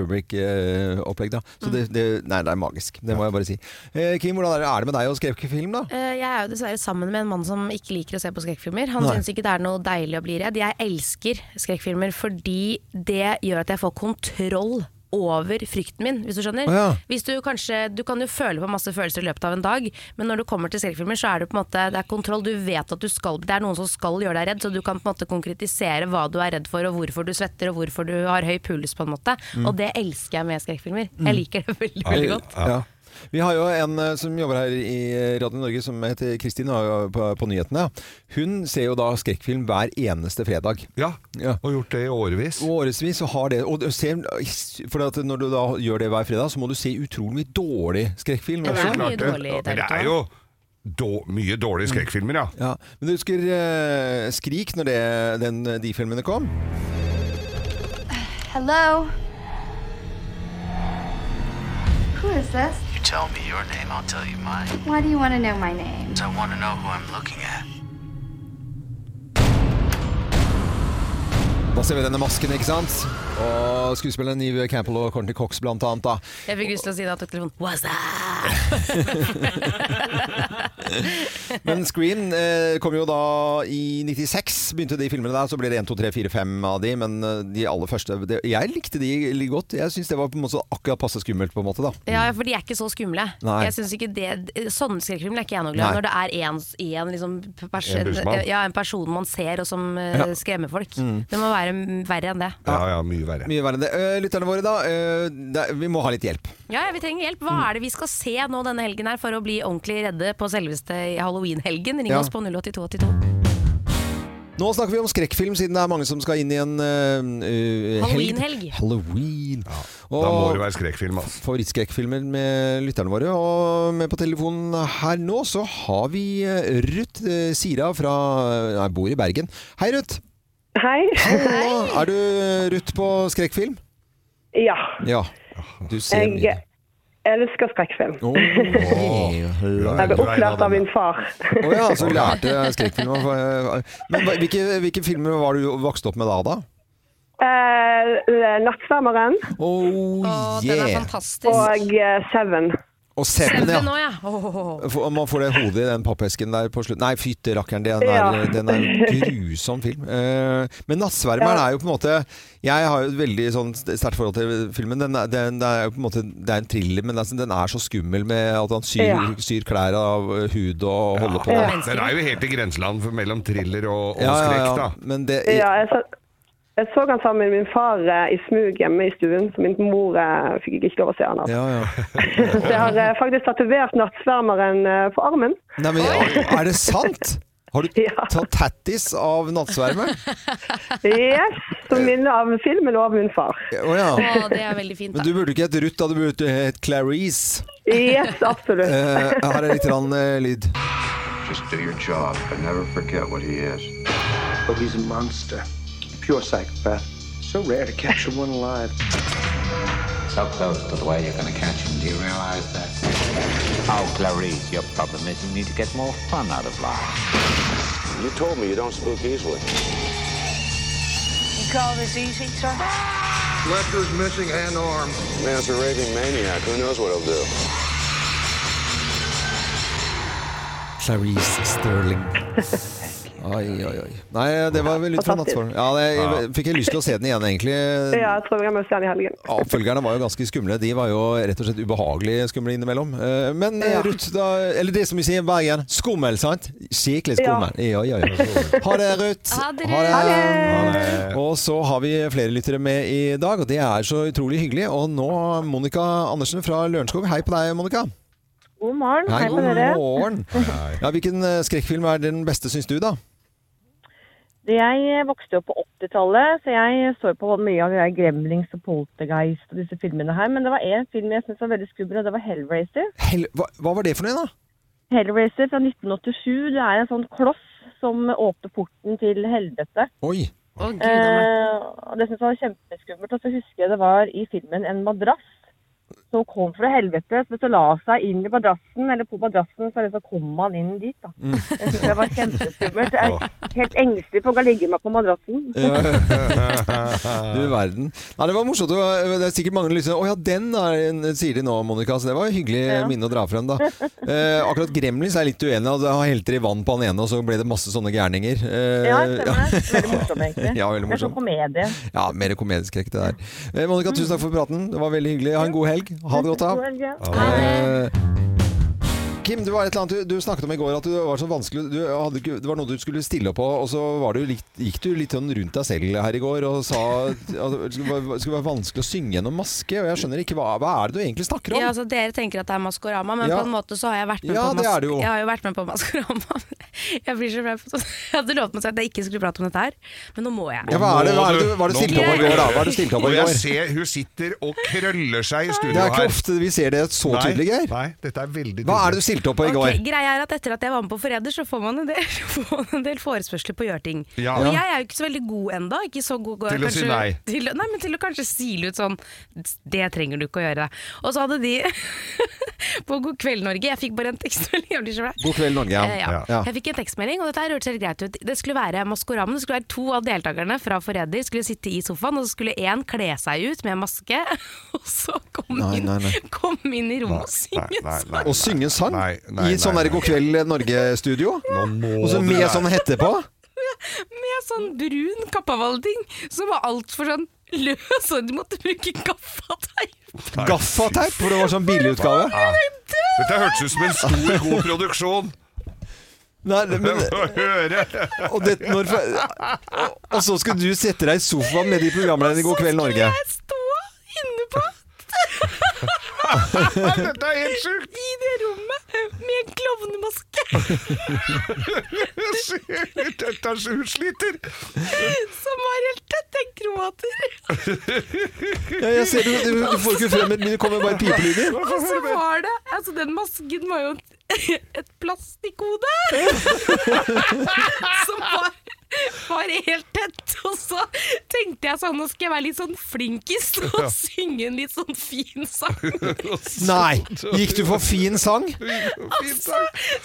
Speaker 1: Kubrick-opplegg, da. Så det, det Nei, det er magisk. Det må jeg bare si. Eh, Kim, hvordan er det, er det med deg og skrekkfilm, da?
Speaker 3: Eh, Jeg er jo dessverre sammen med en mann som ikke liker å se på skrekkfilmer. Han
Speaker 1: Nei.
Speaker 3: syns ikke det er noe deilig å bli redd. Jeg elsker skrekkfilmer fordi det gjør at jeg får kontroll over frykten min, hvis du skjønner.
Speaker 10: Å ja.
Speaker 3: Hvis du, kanskje, du kan jo føle på masse følelser i løpet av en dag, men når du kommer til skrekkfilmer, så er det på en måte det er kontroll. Du vet at du skal Det er noen som skal gjøre deg redd, så du kan på en måte konkretisere hva du er redd for, og hvorfor du svetter, og hvorfor du har høy puls, på en måte.
Speaker 1: Mm.
Speaker 3: Og det elsker jeg med skrekkfilmer.
Speaker 1: Mm.
Speaker 3: Jeg liker det veldig, veldig godt.
Speaker 1: Ja. Vi har jo en eh, som jobber her i eh, Radio Norge som heter Kristin har jo på, på nyhetene. Hun ser jo da skrekkfilm hver eneste fredag.
Speaker 2: Ja, og gjort det i årevis.
Speaker 1: Og årevis og har det. Og du ser, for at når du da gjør det hver fredag, så må du se utrolig mye dårlig skrekkfilm.
Speaker 2: Ja, det er
Speaker 1: også.
Speaker 2: klart det. Men det er jo då- mye dårlige skrekkfilmer, ja.
Speaker 1: Ja, Men du husker eh, Skrik, når det, den, de filmene kom?
Speaker 17: Hello? Who is this?
Speaker 18: You tell me your name, I'll tell you mine.
Speaker 17: Why do you want to know my name?
Speaker 18: I want to know who I'm looking at.
Speaker 1: Da ser vi denne masken, ikke sant? Og skuespilleren Neve Campbell og Courtney Cox blant annet. da.
Speaker 3: Jeg fikk lyst til å si det til telefonen. What's up?
Speaker 1: Men Scream eh, kom jo da i 96, begynte de filmene der. Så ble det 1, 2, 3, 4, 5 av de, men eh, de aller første det, Jeg likte de litt godt. Jeg syns det var på en måte akkurat passe skummelt, på en måte, da.
Speaker 3: Ja, for de er ikke så skumle.
Speaker 1: Mm. Nei.
Speaker 3: Jeg synes ikke det Sånne skrekkfilmer er ikke jeg noe glad i.
Speaker 1: Nei.
Speaker 3: Når det er en, en, liksom, pers
Speaker 1: En bussmann.
Speaker 3: ja, en person man ser og som eh,
Speaker 1: Ja.
Speaker 3: skremmer folk.
Speaker 1: Mm.
Speaker 3: Det må være m- verre enn det.
Speaker 2: Ja, ja, mye verre.
Speaker 1: Mye verre enn det. Eh, lytterne våre, da. eh, det, vi må ha litt hjelp.
Speaker 3: Ja, ja, vi trenger hjelp. Hva
Speaker 1: Mm.
Speaker 3: er det vi skal se nå denne helgen her for å bli ordentlig redde på selveste halloween-helgen? Ring
Speaker 1: Ja.
Speaker 3: oss på 08282.
Speaker 1: Nå snakker vi om skrekkfilm, siden det er mange som skal inn i en eh, eh,
Speaker 3: Halloween-helg.
Speaker 1: Halloween.
Speaker 2: Da må det være skrekkfilm, altså.
Speaker 1: favorittskrekkfilmer med lytterne våre. Og med på telefonen her nå så har vi eh, Ruth eh, Sira fra Nei, bor i Bergen. Hei, Ruth!
Speaker 19: Hei.
Speaker 1: Hallo. Er du Ruth på skrekkfilm?
Speaker 19: Ja.
Speaker 1: Ja. Du ser mye.
Speaker 19: Jeg elsker skrekkfilm.
Speaker 1: Åh,
Speaker 19: Jeg ble opplært av min far.
Speaker 1: Å ja, så du lærte skrekkfilmer. Men hva- hvilke, hvilke filmer var du vokst opp med da? da?
Speaker 19: Eh, Nattsvermeren.
Speaker 1: Oh, den er yeah. fantastisk.
Speaker 19: Og eh, Seven.
Speaker 1: Og Seven, ja.
Speaker 3: ja. Åh.
Speaker 1: For- Om man får det hodet i den pappesken der på slutten Nei, fytte rakkeren, den er,
Speaker 19: Ja.
Speaker 1: den er en grusom film. Eh, men 'Nattsvermeren'
Speaker 19: Ja.
Speaker 1: er jo på en måte Jeg har jo et veldig sånn sterkt forhold til filmen. Den, er- den, det er jo på en måte Det er en thriller, men altså, den, den er så skummel med at han syr,
Speaker 19: Ja.
Speaker 1: syr klær av eh, hud og holder på.
Speaker 2: Ja. Den er jo helt i grenseland for mellom thriller og, og
Speaker 1: Ja, ja, ja.
Speaker 2: skrekk, da.
Speaker 1: Men det
Speaker 19: Ja, jeg så, jeg så han sammen med min far eh, i smug hjemme i stuen, så min mor eh, fikk ikke lov å se han. Altså.
Speaker 1: Ja, ja.
Speaker 19: Så jeg har eh, faktisk tatovert Nattsvermeren eh, på armen.
Speaker 1: Nei, men er det sant? Har du tatt tattis av 'Nattsvermeren'?
Speaker 19: Yes, Som minne av filmen og av min far.
Speaker 1: Å ja.
Speaker 19: Å, det er veldig fint, da.
Speaker 1: Men du burde ikke hett Ruth, da. Du burde hett Clarice.
Speaker 19: Yes, absolutt.
Speaker 1: Eh, her er litt rann, eh, lyd.
Speaker 20: Just do your job and never forget what he is. But he's a monster. Pure psychopath. So rare to capture one alive.
Speaker 21: So close to the way you're going to catch him. Do you realize that? Oh, Clarice, your problem is you need to get more fun out of life. You told me you don't spook easily.
Speaker 12: You call this easy, sir?
Speaker 20: Lester's missing an arm.
Speaker 21: Man's a raving maniac. Who knows what he'll do?
Speaker 1: Clarice Sterling. Oi, oi, oi. Nei, det var vel litt fra
Speaker 19: Fantastisk.
Speaker 1: nattsvarmen. Ja, jeg jeg fikk jeg lyst til å se den igjen, egentlig.
Speaker 19: Ja, jeg tror jeg må se den i helgen.
Speaker 1: Ja, Oppfølgerne var jo ganske skumle. De var jo rett og slett ubehagelig skumle innimellom. Eh, Men eh, Ruth, da, eller det som vi sier i Bergen, skummel, sant? Skikkelig skummel. Ja, ja, ja. Ha det, Ruth.
Speaker 5: Ha det,
Speaker 1: Ha det. eh, Og så har vi flere lyttere med i dag, og det er så utrolig hyggelig. Og nå Monica Andersen fra Lørenskog. Hei på deg, Monica.
Speaker 22: God morgen. Hei, på
Speaker 1: god
Speaker 22: dere.
Speaker 1: morgen. Ja, hvilken eh, skrekkfilm er den beste, syns du, da?
Speaker 22: Jeg eh, vokste opp på 80-tallet, så jeg så på mye av de der Gremlings og Poltergeist og disse filmene her. Men det var én film jeg syntes var veldig skummel, og det var Hellraiser.
Speaker 1: Hell, hva, hva var det for noe, da?
Speaker 22: Hellraiser fra 1987. Det er en sånn kloss som åpner porten til helvete.
Speaker 1: Oi.
Speaker 22: Eh, og det syntes jeg var kjempeskummelt. Og så husker jeg det var i filmen en madrass som kom fra helvete. Men så la seg inn i madrassen, eller på madrassen, så, så kom han inn dit. da.
Speaker 1: Mm.
Speaker 22: Jeg synes det var kjempeskummelt. Jeg er helt engstelig for å ligge meg på madrassen.
Speaker 1: Eh, du verden. Nei, det var morsomt. Det, var, det er sikkert mange lyttere Å ja, den er, en- sier de nå, Monica. Så det var et hyggelig minne å dra frem, da. Eh, akkurat Gremlins er jeg litt uenig. i. Da helte de vann på han ene, og så ble det masse sånne gærninger. Eh,
Speaker 22: Ja, stemmer det. Veldig morsom, egentlig.
Speaker 1: Ja, veldig
Speaker 22: Det er sånn
Speaker 1: morsom.
Speaker 22: komedie.
Speaker 1: Ja, mer komedieskrekk det der. Eh, Monica, tusen takk for praten. Det var veldig hyggelig. Ha en god helg. Ha det godt, da.
Speaker 22: God helg, ja.
Speaker 1: Eh, Kim, du, var et eller annet, du, du snakket om i går at du var så vanskelig du hadde ikke, Det var noe du skulle stille opp på, og så var du litt, gikk du litt sånn rundt deg selv her i går og sa at det skulle være- skulle være vanskelig å synge gjennom maske. Og jeg skjønner ikke Hva, hva er det du egentlig snakker om?
Speaker 10: Ja, altså Dere tenker at det er Maskorama, men
Speaker 1: Ja.
Speaker 10: på en måte så har jeg vært med
Speaker 1: Ja,
Speaker 10: på
Speaker 1: det
Speaker 10: mas-
Speaker 1: er det jo.
Speaker 10: Jeg har jo vært med på Maskorama. Jeg blir så flau. for sånn. Jeg hadde lovt meg selv at jeg ikke skulle prate om dette her, men nå må jeg.
Speaker 1: Ja, hva er det- hva er det du- hva er det du stilte opp i går, da? Hva er det du stilte opp i
Speaker 2: Og jeg
Speaker 1: går?
Speaker 2: ser hun sitter og krøller seg i studio
Speaker 1: Det
Speaker 2: her.
Speaker 1: er ikke ofte vi ser det så
Speaker 2: Nei,
Speaker 1: tydelig, Geir.
Speaker 2: Nei, dette er veldig
Speaker 1: Hva er det
Speaker 2: tydelig.
Speaker 1: du stilte opp på i går?
Speaker 10: Ok, greia er at etter at jeg var med på Forræder, så får man en del, får man en del forespørsler på å gjøre ting.
Speaker 2: Ja.
Speaker 10: Og
Speaker 2: Ja.
Speaker 10: jeg er jo ikke så veldig god enda Ikke så god,
Speaker 5: Til å si
Speaker 10: kanskje-
Speaker 5: nei.
Speaker 10: Til, å- nei, men til å kanskje sile ut sånn Det trenger du ikke å gjøre. Og så hadde de på God kveld, Norge. Jeg fikk bare en tekstmelding. Jeg blir så flau.
Speaker 1: God kveld, Norge, ja.
Speaker 10: Eh, ja.
Speaker 1: Ja.
Speaker 10: Jeg fikk en tekstmelding, og dette her hørtes helt greit ut. Det skulle være Maskoramen. Det skulle være to av deltakerne fra Forræder skulle sitte i sofaen, og så skulle én kle seg ut med maske, og så kom,
Speaker 1: Nei, nei, nei.
Speaker 10: kom inn i rommet og synge en sang.
Speaker 1: Å synge en sang i sånn der God kveld Norge-studio? Og så
Speaker 2: du
Speaker 1: med
Speaker 2: lære.
Speaker 1: sånn hette på?
Speaker 10: med sånn brun kappavalding som var altfor sånn løs, og de måtte bruke gaffateip.
Speaker 1: Gaffateip, for det var sånn billigutgave.
Speaker 2: Ah. Dette hørtes ut som en stor, god produksjon.
Speaker 1: Nei, men,
Speaker 2: Få høre!
Speaker 1: og, det, når, og, og så skal du sette deg i sofaen med de programlederne i God kveld, Norge.
Speaker 5: Dette er helt sjukt!
Speaker 10: I det rommet med en klovnemaske.
Speaker 2: Dette er så utsliter.
Speaker 10: Som var helt tett. Jeg gråter.
Speaker 1: Ja, jeg ser du, du, du får ikke frem et men det kommer bare pipelyder.
Speaker 10: Og så var det Altså, den masken var jo et, et plastikkhode! som var, var helt tett. Og så tenkte jeg sånn, nå skal jeg være litt sånn flinkest og synge en litt sånn fin sang.
Speaker 1: Nei! Gikk du for fin sang?
Speaker 10: Og så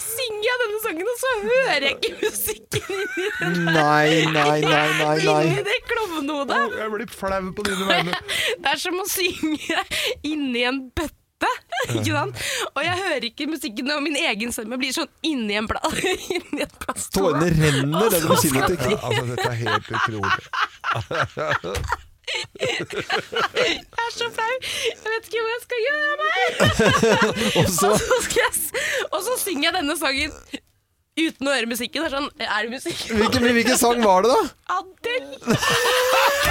Speaker 10: synger jeg denne sangen, og så hører jeg ikke musikken inni den der-
Speaker 1: Nei, nei, nei, nei, nei.
Speaker 10: Inni det klovnehodet.
Speaker 2: Jeg blir flau på dine
Speaker 10: vegne. Det er som å synge inni en bøtte. Ikke sant? Og jeg hører ikke musikken, og min egen stemme blir sånn inni en, pla inni en plast.
Speaker 1: Tårene renner. Det er det du sier
Speaker 2: Ja, altså, dette er helt utrolig.
Speaker 10: Jeg er så flau. Jeg vet ikke hvor jeg skal gjøre av meg.
Speaker 1: Og så-
Speaker 10: og, så skal jeg, s- og så synger jeg denne sangen uten å høre musikken. Det er sånn, er det musikk?
Speaker 1: Hvilken, hvilken sang var det, da?
Speaker 10: Adel.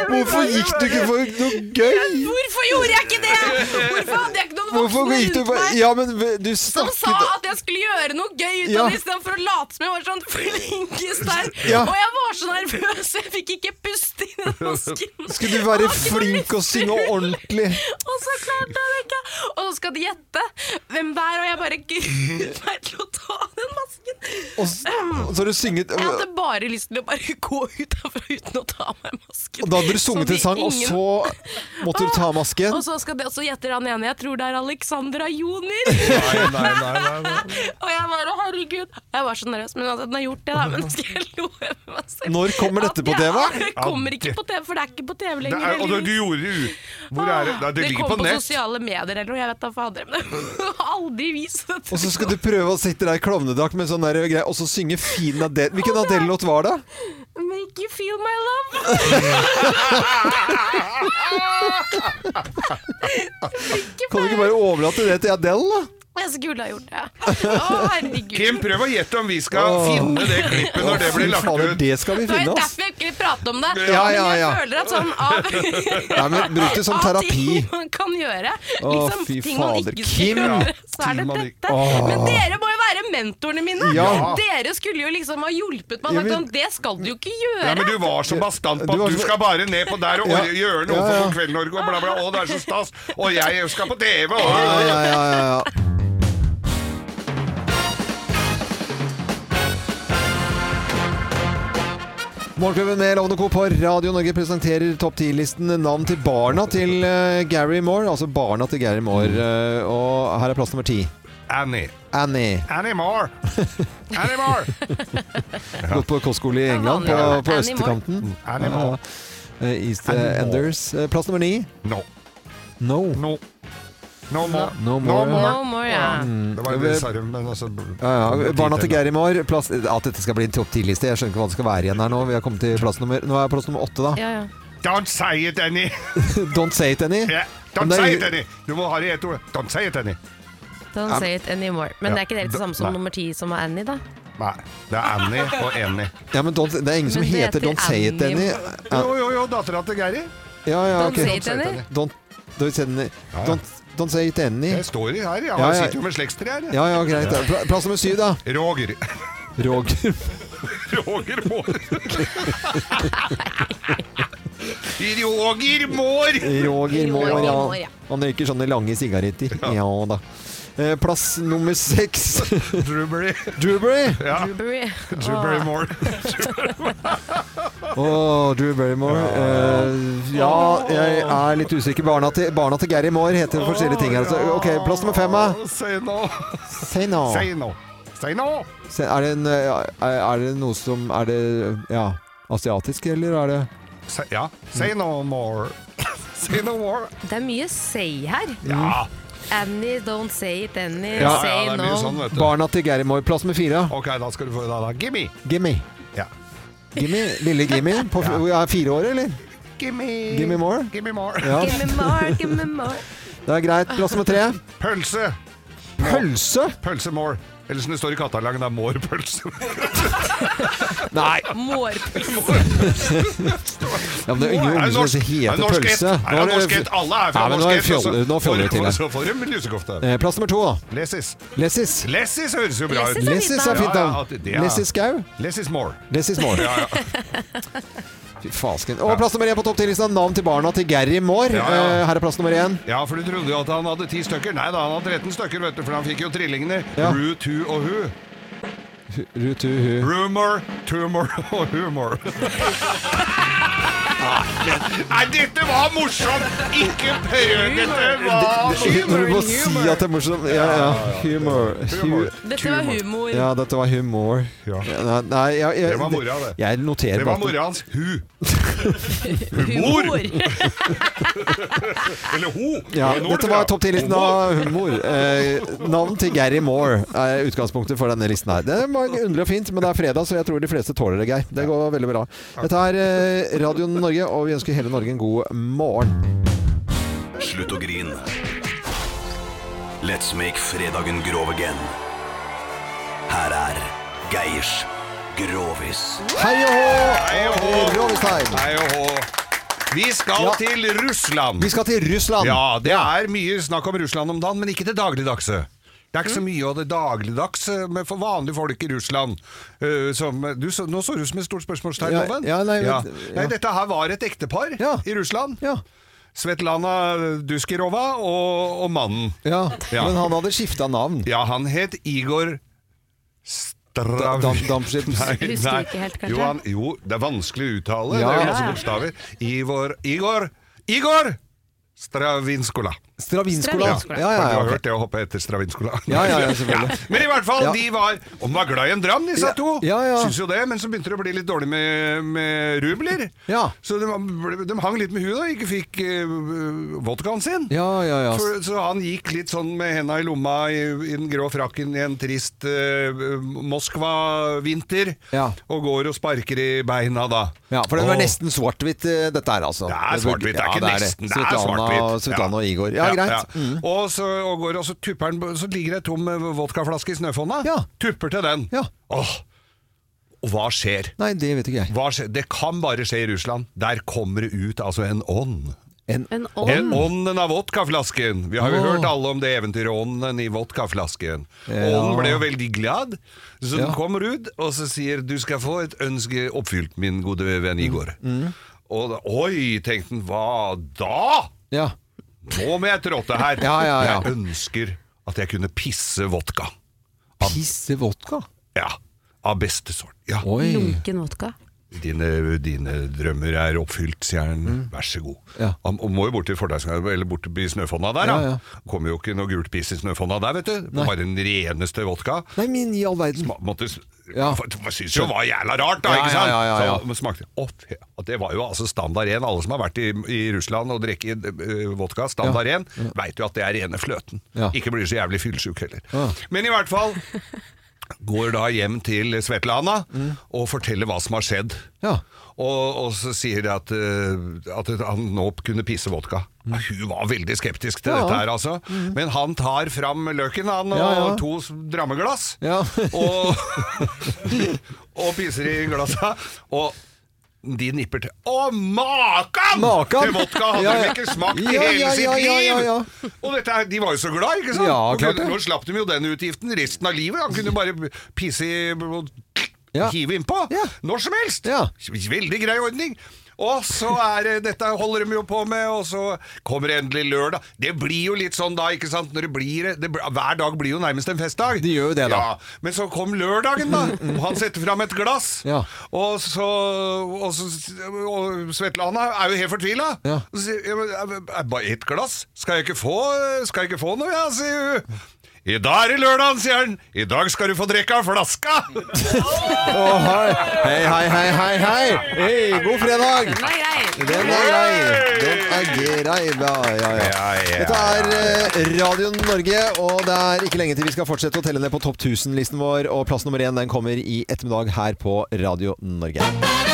Speaker 1: Hvorfor gikk du ikke for noe gøy?
Speaker 10: Hvorfor gjorde jeg ikke det? Hvorfor hadde jeg ikke noen
Speaker 1: Hvorfor
Speaker 10: voksne
Speaker 1: gikk du
Speaker 10: rundt
Speaker 1: for
Speaker 10: meg
Speaker 1: Ja, men du
Speaker 10: som sa
Speaker 1: snakket
Speaker 10: at jeg skulle gjøre noe gøy ut
Speaker 1: Ja.
Speaker 10: av det, istedenfor å late som jeg var sånn flinkest der?
Speaker 1: Ja.
Speaker 10: Og jeg var så nervøs, jeg fikk ikke puste i den masken.
Speaker 1: Skulle du være flink og synge ordentlig?
Speaker 10: Og så klarte jeg det ikke. Og så skal de gjette hvem det er, og jeg bare gruer meg til å ta den masken.
Speaker 1: Og s-
Speaker 10: Mm.
Speaker 1: og så har du synget
Speaker 10: Jeg hadde bare lyst til å bare gå ut herfra uten å ta av meg masken.
Speaker 1: Og da hadde du
Speaker 10: Så
Speaker 1: sunget
Speaker 10: de
Speaker 1: en sang, og
Speaker 10: ingen- Ah!
Speaker 1: så måtte du ta masken.
Speaker 10: Og så, skal de, og så gjetter han ene, jeg tror det er Alexandra Joner.
Speaker 1: Nei, nei, nei, nei,
Speaker 10: og jeg bare, herregud. Jeg var så nervøs, men altså, den har gjort det da, men skal jeg lo med meg selv.
Speaker 1: Når kommer dette på
Speaker 10: At jeg-
Speaker 1: TV?
Speaker 10: Det kommer ikke
Speaker 2: ikke.
Speaker 10: på TV, for det er ikke på TV
Speaker 2: Det
Speaker 10: lenger.
Speaker 2: er, og du, du
Speaker 10: heldigvis.
Speaker 2: gjorde det ut. Hvor er det? Nei, det, ligger
Speaker 10: kommer
Speaker 2: på
Speaker 10: på,
Speaker 2: nett.
Speaker 10: sosiale medier eller noe, jeg vet da fader. Men jeg har aldri vist det.
Speaker 1: Og så skal du prøve å sitte der i klovnedrakt med sånn der greie, og så synge fin Adele. Hvilken Adele-låt var det?
Speaker 10: Make you feel my love.
Speaker 1: Kan du ikke bare overlate det til Adele, da?
Speaker 10: Jeg skulle ha gjort det. Å, herregud.
Speaker 2: Kim, prøv å gjette om vi skal finne det klippet når det
Speaker 1: Å, fy
Speaker 2: blir lagt
Speaker 1: fader,
Speaker 2: ut.
Speaker 1: Det skal vi
Speaker 10: Det var jo
Speaker 1: finne, ass.
Speaker 10: derfor jeg ikke ville prate om det.
Speaker 1: Ja, ja, ja.
Speaker 10: Men jeg føler at sånn av
Speaker 1: Nei, men bruk det som
Speaker 10: av
Speaker 1: terapi.
Speaker 10: ting man kan gjøre.
Speaker 1: Å,
Speaker 10: Liksom,
Speaker 1: fy
Speaker 10: ting man
Speaker 1: fader,
Speaker 10: ikke skal
Speaker 1: Kim.
Speaker 10: gjøre, så
Speaker 1: Ting
Speaker 10: er det
Speaker 1: man ikke-
Speaker 10: dette.
Speaker 1: Åh.
Speaker 10: Men dere må jo være mentorene mine!
Speaker 2: Ja.
Speaker 10: Dere skulle jo liksom ha hjulpet
Speaker 2: Ja,
Speaker 10: meg. og sagt
Speaker 2: men-
Speaker 10: sånn, det skal du jo ikke gjøre!
Speaker 2: Ja, men du var så bastant på
Speaker 1: Du var
Speaker 2: at du
Speaker 1: så-
Speaker 2: skal bare ned på der og
Speaker 1: Ja.
Speaker 2: gjøre noe
Speaker 1: Ja, ja.
Speaker 2: for Kveld-Norge og bla, bla. Å, det er så stas. Og jeg skal på TV. Og,
Speaker 1: Ja, ja, ja, ja, ja. Morgenklubben med Lovende Co. på Radio Norge presenterer topp 10-listen navn til barna til eh, Gary Moore. Altså barna til Gary Moore.
Speaker 2: Mm.
Speaker 1: eh, og her er plass nummer ti.
Speaker 2: Annie.
Speaker 1: Annie.
Speaker 2: Annie Moore. Annie Moore.
Speaker 1: Gått på kostskole i England,
Speaker 2: vanlig, ja.
Speaker 1: på, på
Speaker 2: Annie
Speaker 1: østkanten.
Speaker 2: Moore. Annie Moore.
Speaker 1: Ja. Eh, East eh,
Speaker 2: Annie Moore.
Speaker 1: Enders. Eh, Plass nummer ni.
Speaker 2: No.
Speaker 1: No.
Speaker 2: No. No more.
Speaker 1: No more.
Speaker 10: No more, ja.
Speaker 1: Mm.
Speaker 2: Det var en del sarm, men altså
Speaker 1: Ja, ja. Barna til Gary Moore. Plass, at dette skal bli en topp 10-liste. Jeg skjønner ikke hva det skal være igjen her nå. Vi har kommet til plass nummer Nå er jeg plass nummer åtte, da.
Speaker 10: Ja, ja.
Speaker 2: Don't say it, Annie.
Speaker 1: Don't say it any.
Speaker 2: Yeah. Don't say it, Annie. Du må ha det i ett ord. Don't say it, Annie.
Speaker 10: Don't say it anymore. Men
Speaker 2: Ja.
Speaker 10: det er ikke dere det samme som
Speaker 2: Nei.
Speaker 10: nummer ti, som er Annie, da?
Speaker 2: Nei. Det er Annie og Annie.
Speaker 1: Ja, men don't, det er ingen som
Speaker 10: Men det
Speaker 1: heter
Speaker 10: heter
Speaker 1: Don't say it any.
Speaker 10: Annie.
Speaker 1: Ja,
Speaker 2: Jo, jo, jo. Dattera til Geiri.
Speaker 1: ja, ja,
Speaker 10: Don't
Speaker 1: ok.
Speaker 10: say it any.
Speaker 1: Don't, don't, say it any. don't, don't say it any.
Speaker 2: Det står i her. Ja,
Speaker 1: Ja,
Speaker 2: Han
Speaker 1: ja.
Speaker 2: sitter jo med slektstre her.
Speaker 1: Ja, ja, greit. da. Pla- Plass nummer syv, da.
Speaker 2: Roger.
Speaker 1: Roger.
Speaker 2: Roger Moore. Roger Moore!
Speaker 1: Roger Moore,
Speaker 2: Moore,
Speaker 1: ja.
Speaker 2: ja.
Speaker 1: Han røyker sånne lange sigaretter. Ja da. Eh, Plass nummer seks.
Speaker 2: Drewberry.
Speaker 1: Drewberry.
Speaker 2: Ja.
Speaker 10: Drewberry.
Speaker 2: Drew
Speaker 1: Ah.
Speaker 2: Barrymore.
Speaker 1: Å, Drew Barrymore. Eh, ja, jeg er litt usikker. Barna til, barna til Gary Moore heter forskjellige ting. her, Altså. Ok, Plass nummer fem, da.
Speaker 2: Say no.
Speaker 1: Say no.
Speaker 2: Say no. Say no.
Speaker 1: Se, Er det, en, eh, er er det noe som Er det ja, asiatisk, eller er det
Speaker 2: Say, ja. Say no more. Say no more.
Speaker 10: Det er mye say her.
Speaker 2: Ja.
Speaker 1: Mm.
Speaker 10: Annie, don't say it, Annie.
Speaker 1: Ja.
Speaker 10: say
Speaker 2: Ja, det er
Speaker 10: no.
Speaker 2: mye sånn, vet du.
Speaker 1: Barna til Gary Moore. Plass med fire.
Speaker 2: Ok, da skal du få da, da. Gimme.
Speaker 1: Gimme.
Speaker 2: Ja.
Speaker 1: Gimme, Lille Gimme. På, f- Er fire år, eller?
Speaker 2: Gimme.
Speaker 1: Gimme more?
Speaker 2: Gimme more.
Speaker 1: Ja.
Speaker 10: Give me more, give me more.
Speaker 1: Det er greit. Plass nummer tre.
Speaker 2: Pølse.
Speaker 1: Pølse?
Speaker 2: Pølse more. Eller som det står i kattelangen, det er mårpølse.
Speaker 1: Nei. Ja, men det er
Speaker 2: Nå
Speaker 1: ingen
Speaker 2: er det
Speaker 1: unger som
Speaker 2: norsk- er det
Speaker 1: heter
Speaker 2: norsk
Speaker 1: pølse.
Speaker 2: ett? Er det norsk ett? Alle er fra
Speaker 1: Nei, men nå
Speaker 2: norsk ett, og så-
Speaker 1: fjolle- Nå fjoller vi til
Speaker 2: og
Speaker 1: her.
Speaker 2: Så får de lusekofte.
Speaker 1: Eh, Plass nummer to, da.
Speaker 2: Lessis.
Speaker 1: Lessis.
Speaker 2: Lessis høres jo bra ut.
Speaker 1: Lessis er fint
Speaker 2: Ja, ja,
Speaker 1: navn.
Speaker 2: at det er-
Speaker 1: Lessis Skau.
Speaker 2: Lessis more.
Speaker 1: Lessis Moore.
Speaker 2: Ja, ja.
Speaker 1: Fy fasken. Og plass nummer én på topp 10-lista. Navn til barna til Gary Moore.
Speaker 2: Ja, ja.
Speaker 1: Eh, Her er plass nummer én.
Speaker 2: Ja, for du trodde jo at han hadde ti stykker. Nei da, han hadde 13 stykker, vet du, for han fikk jo trillingene.
Speaker 1: Ja.
Speaker 2: Rue, tu og hu.
Speaker 1: Rutuhu.
Speaker 2: Rumor, tumor og humor. Nei, dette var morsomt! Ikke prøv! Dette var
Speaker 1: Når du må
Speaker 2: humor.
Speaker 1: si at det er morsomt. Ja, ja. Humor. Hu-
Speaker 10: Dette var humor.
Speaker 1: Ja, dette var humor. Ja, Nei, jeg,
Speaker 2: Det
Speaker 1: jeg,
Speaker 2: var mora, det.
Speaker 1: Jeg
Speaker 2: Det
Speaker 1: noterer
Speaker 2: var
Speaker 1: bare at-
Speaker 2: mora hans. Hu. Humor! Eller ho.
Speaker 1: Ja,
Speaker 2: Nordra.
Speaker 1: dette var topp 10-listen av humor. Eh, navn til Gary Moore er utgangspunktet for denne listen her. Det var underlig og fint, men det er fredag, så jeg tror de fleste tåler det, Geir. Det går veldig bra. Dette er eh, Radio Norge, og vi ønsker hele Norge en god morgen.
Speaker 6: Slutt å grine. Let's make fredagen grov again. Her er Geirs Grovis.
Speaker 1: Hei og
Speaker 2: Hei og
Speaker 1: hå!
Speaker 2: hå.
Speaker 1: Rollestein.
Speaker 2: Hei og hå. Vi skal til Russland.
Speaker 1: Vi skal til Russland.
Speaker 2: Ja, det er mye snakk om Russland om dagen, men ikke det dagligdagse. Det er ikke
Speaker 1: Mm.
Speaker 2: så mye av det dagligdagse men for vanlige folk i Russland. eh, som, du, så, nå så du ut som et stort spørsmålstegn,
Speaker 1: Ja,
Speaker 2: Loven.
Speaker 1: ja, nei, men- ja.
Speaker 2: Nei, dette her var et ektepar i Russland. Svetlana Duskirova og, og mannen.
Speaker 1: Ja,
Speaker 2: Ja.
Speaker 1: Men han hadde skifta navn.
Speaker 2: Ja, han het Igor Strav...
Speaker 1: Dam- Dampskip.
Speaker 10: Husker ikke helt, kanskje?
Speaker 2: Jo, han, jo, det er vanskelig å uttale. Det er jo
Speaker 1: Ja. Ja,
Speaker 2: masse
Speaker 1: ja.
Speaker 2: bokstaver. Ivor Igor Igor Stravinskola.
Speaker 1: Stravinskola.
Speaker 2: Ja, for
Speaker 1: Ja, ja,
Speaker 2: Du
Speaker 1: ja,
Speaker 2: har
Speaker 1: ok.
Speaker 2: hørt det å hoppe etter Stravinskola?
Speaker 1: Ja, ja, ja, selvfølgelig.
Speaker 2: Men i hvert fall,
Speaker 1: Ja.
Speaker 2: de var Og de var glad i en dram, disse
Speaker 1: Ja,
Speaker 2: to.
Speaker 1: ja, ja.
Speaker 2: Syns jo det, men så begynte det å bli litt dårlig med, med rubler. Så de, ble- de hang litt med huet og ikke fikk eh, vodkaen sin.
Speaker 1: ja.
Speaker 2: For, så han gikk litt sånn med henda i lomma i, i den grå frakken i en trist eh, Moskva-vinter, og går og sparker i beina da.
Speaker 1: Ja, for det var
Speaker 2: Åh.
Speaker 1: nesten svart-hvitt, eh, dette her, altså.
Speaker 2: Det er svart-hvitt, det er ikke
Speaker 1: Ja,
Speaker 2: nesten. Det er
Speaker 1: Svetlana,
Speaker 2: svart-hvitt.
Speaker 1: Svetlana og Igor. Ja, greit. Mm.
Speaker 2: Og så og går og så tupper han, på- så ligger det ei tom eh, vodkaflaske i snøfonna. Tupper til den. Åh! Og hva skjer?
Speaker 1: Nei, det vet ikke jeg.
Speaker 2: Hva skjer? Det kan bare skje i Russland. Der kommer det ut altså en ånd.
Speaker 1: En,
Speaker 10: ånd?
Speaker 2: Ånden av vodkaflasken. Vi har jo
Speaker 10: Åh.
Speaker 2: hørt alle om det eventyret. Ånden i vodkaflasken.
Speaker 1: Ja.
Speaker 2: Ånden ble jo veldig glad, så
Speaker 1: Ja.
Speaker 2: den kommer ut og så sier du skal få et ønske oppfylt, min gode venn Igor.
Speaker 1: Mm.
Speaker 2: Og da, oi, tenkte han, hva da?
Speaker 1: Ja.
Speaker 2: Nå må jeg trådte her.
Speaker 1: Ja, ja, ja.
Speaker 2: Jeg ønsker at jeg kunne pisse vodka.
Speaker 1: Pisse vodka?
Speaker 2: Ja, av beste sort. Ja.
Speaker 10: Lunken vodka.
Speaker 2: Dine, dine drømmer er oppfylt, sier han.
Speaker 1: Mm.
Speaker 2: Vær så god. Han han må jo bort til Fordelsgangen, eller bort i snøfonna der,
Speaker 1: Ja,
Speaker 2: da. Kommer jo ikke noe gult piss i snøfonna der, vet du.
Speaker 1: Nei.
Speaker 2: Bare den reneste vodka.
Speaker 1: Nei, min i all verden.
Speaker 2: Sma- Måtte, s-
Speaker 1: Ja.
Speaker 2: for- for- Syns jo det var jævla rart, da!
Speaker 1: Ja,
Speaker 2: ikke sant?
Speaker 1: ja, ja, ja, ja.
Speaker 2: Så man smakte opp, og Det var jo altså standard ren. Alle som har vært i, i Russland og drukket eh, vodka standard ren, veit jo at det er rene fløten.
Speaker 1: Ja.
Speaker 2: Ikke blir så jævlig fyllesyk heller.
Speaker 1: Ja.
Speaker 2: Men i hvert fall går da hjem til Svetlana
Speaker 1: Mm.
Speaker 2: og forteller hva som har skjedd. Og, og så sier de at, eh, at han nå kunne pisse vodka. Hun var veldig skeptisk til
Speaker 1: Mm. Ja. Mm.
Speaker 2: dette her, altså. Men han tar fram løken, han, og
Speaker 1: Ja, ja.
Speaker 2: to s- drammeglass. og, og pisser i glassa. Og de nipper til. Å, makan!
Speaker 1: Makan!
Speaker 2: Til vodka hadde
Speaker 1: Ja, ja.
Speaker 2: de ikke smakt i
Speaker 1: Ja,
Speaker 2: hele
Speaker 1: ja,
Speaker 2: sitt
Speaker 1: ja,
Speaker 2: liv!
Speaker 1: ja, ja, ja.
Speaker 2: Og dette, her- de var jo så glad, ikke sant?
Speaker 1: Ja,
Speaker 2: Og
Speaker 1: klart
Speaker 2: kunne- Nå
Speaker 1: det.
Speaker 2: slapp de jo den utgiften resten av livet. Han kunne bare pisse i og hive innpå. Når som helst! Veldig grei ordning. Og så er det- Dette holder de jo på med, og så kommer det endelig lørdag. Det blir jo litt sånn da, ikke sant? Når det blir, det, hver dag blir jo nærmest en festdag. De gjør jo
Speaker 1: det, da. Mm.
Speaker 2: Ja, men så kom lørdagen, da. Og han setter fram et glass. Og så Og, så, og Svetlana er jo helt fortvila.
Speaker 1: Ja.
Speaker 2: Og så sier ja, men, er- er Bare ett glass? Skal jeg ikke få, skal jeg ikke få noe, ja, sier hun. I dag er det lørdagen, sier han. I dag skal du få drikke av flaska!
Speaker 1: Å, hei. hei, hei, hei, hei, hei! Hei, god
Speaker 3: 哎
Speaker 1: fredag!
Speaker 12: Den er grei.
Speaker 1: Den er grei! Den er grei, ja, ja, ja. Dette er eh, Radio Norge, og det er ikke lenge til vi skal fortsette å telle ned på topp 1000-listen vår, og plass nummer én den kommer i ettermiddag her på Radio Norge.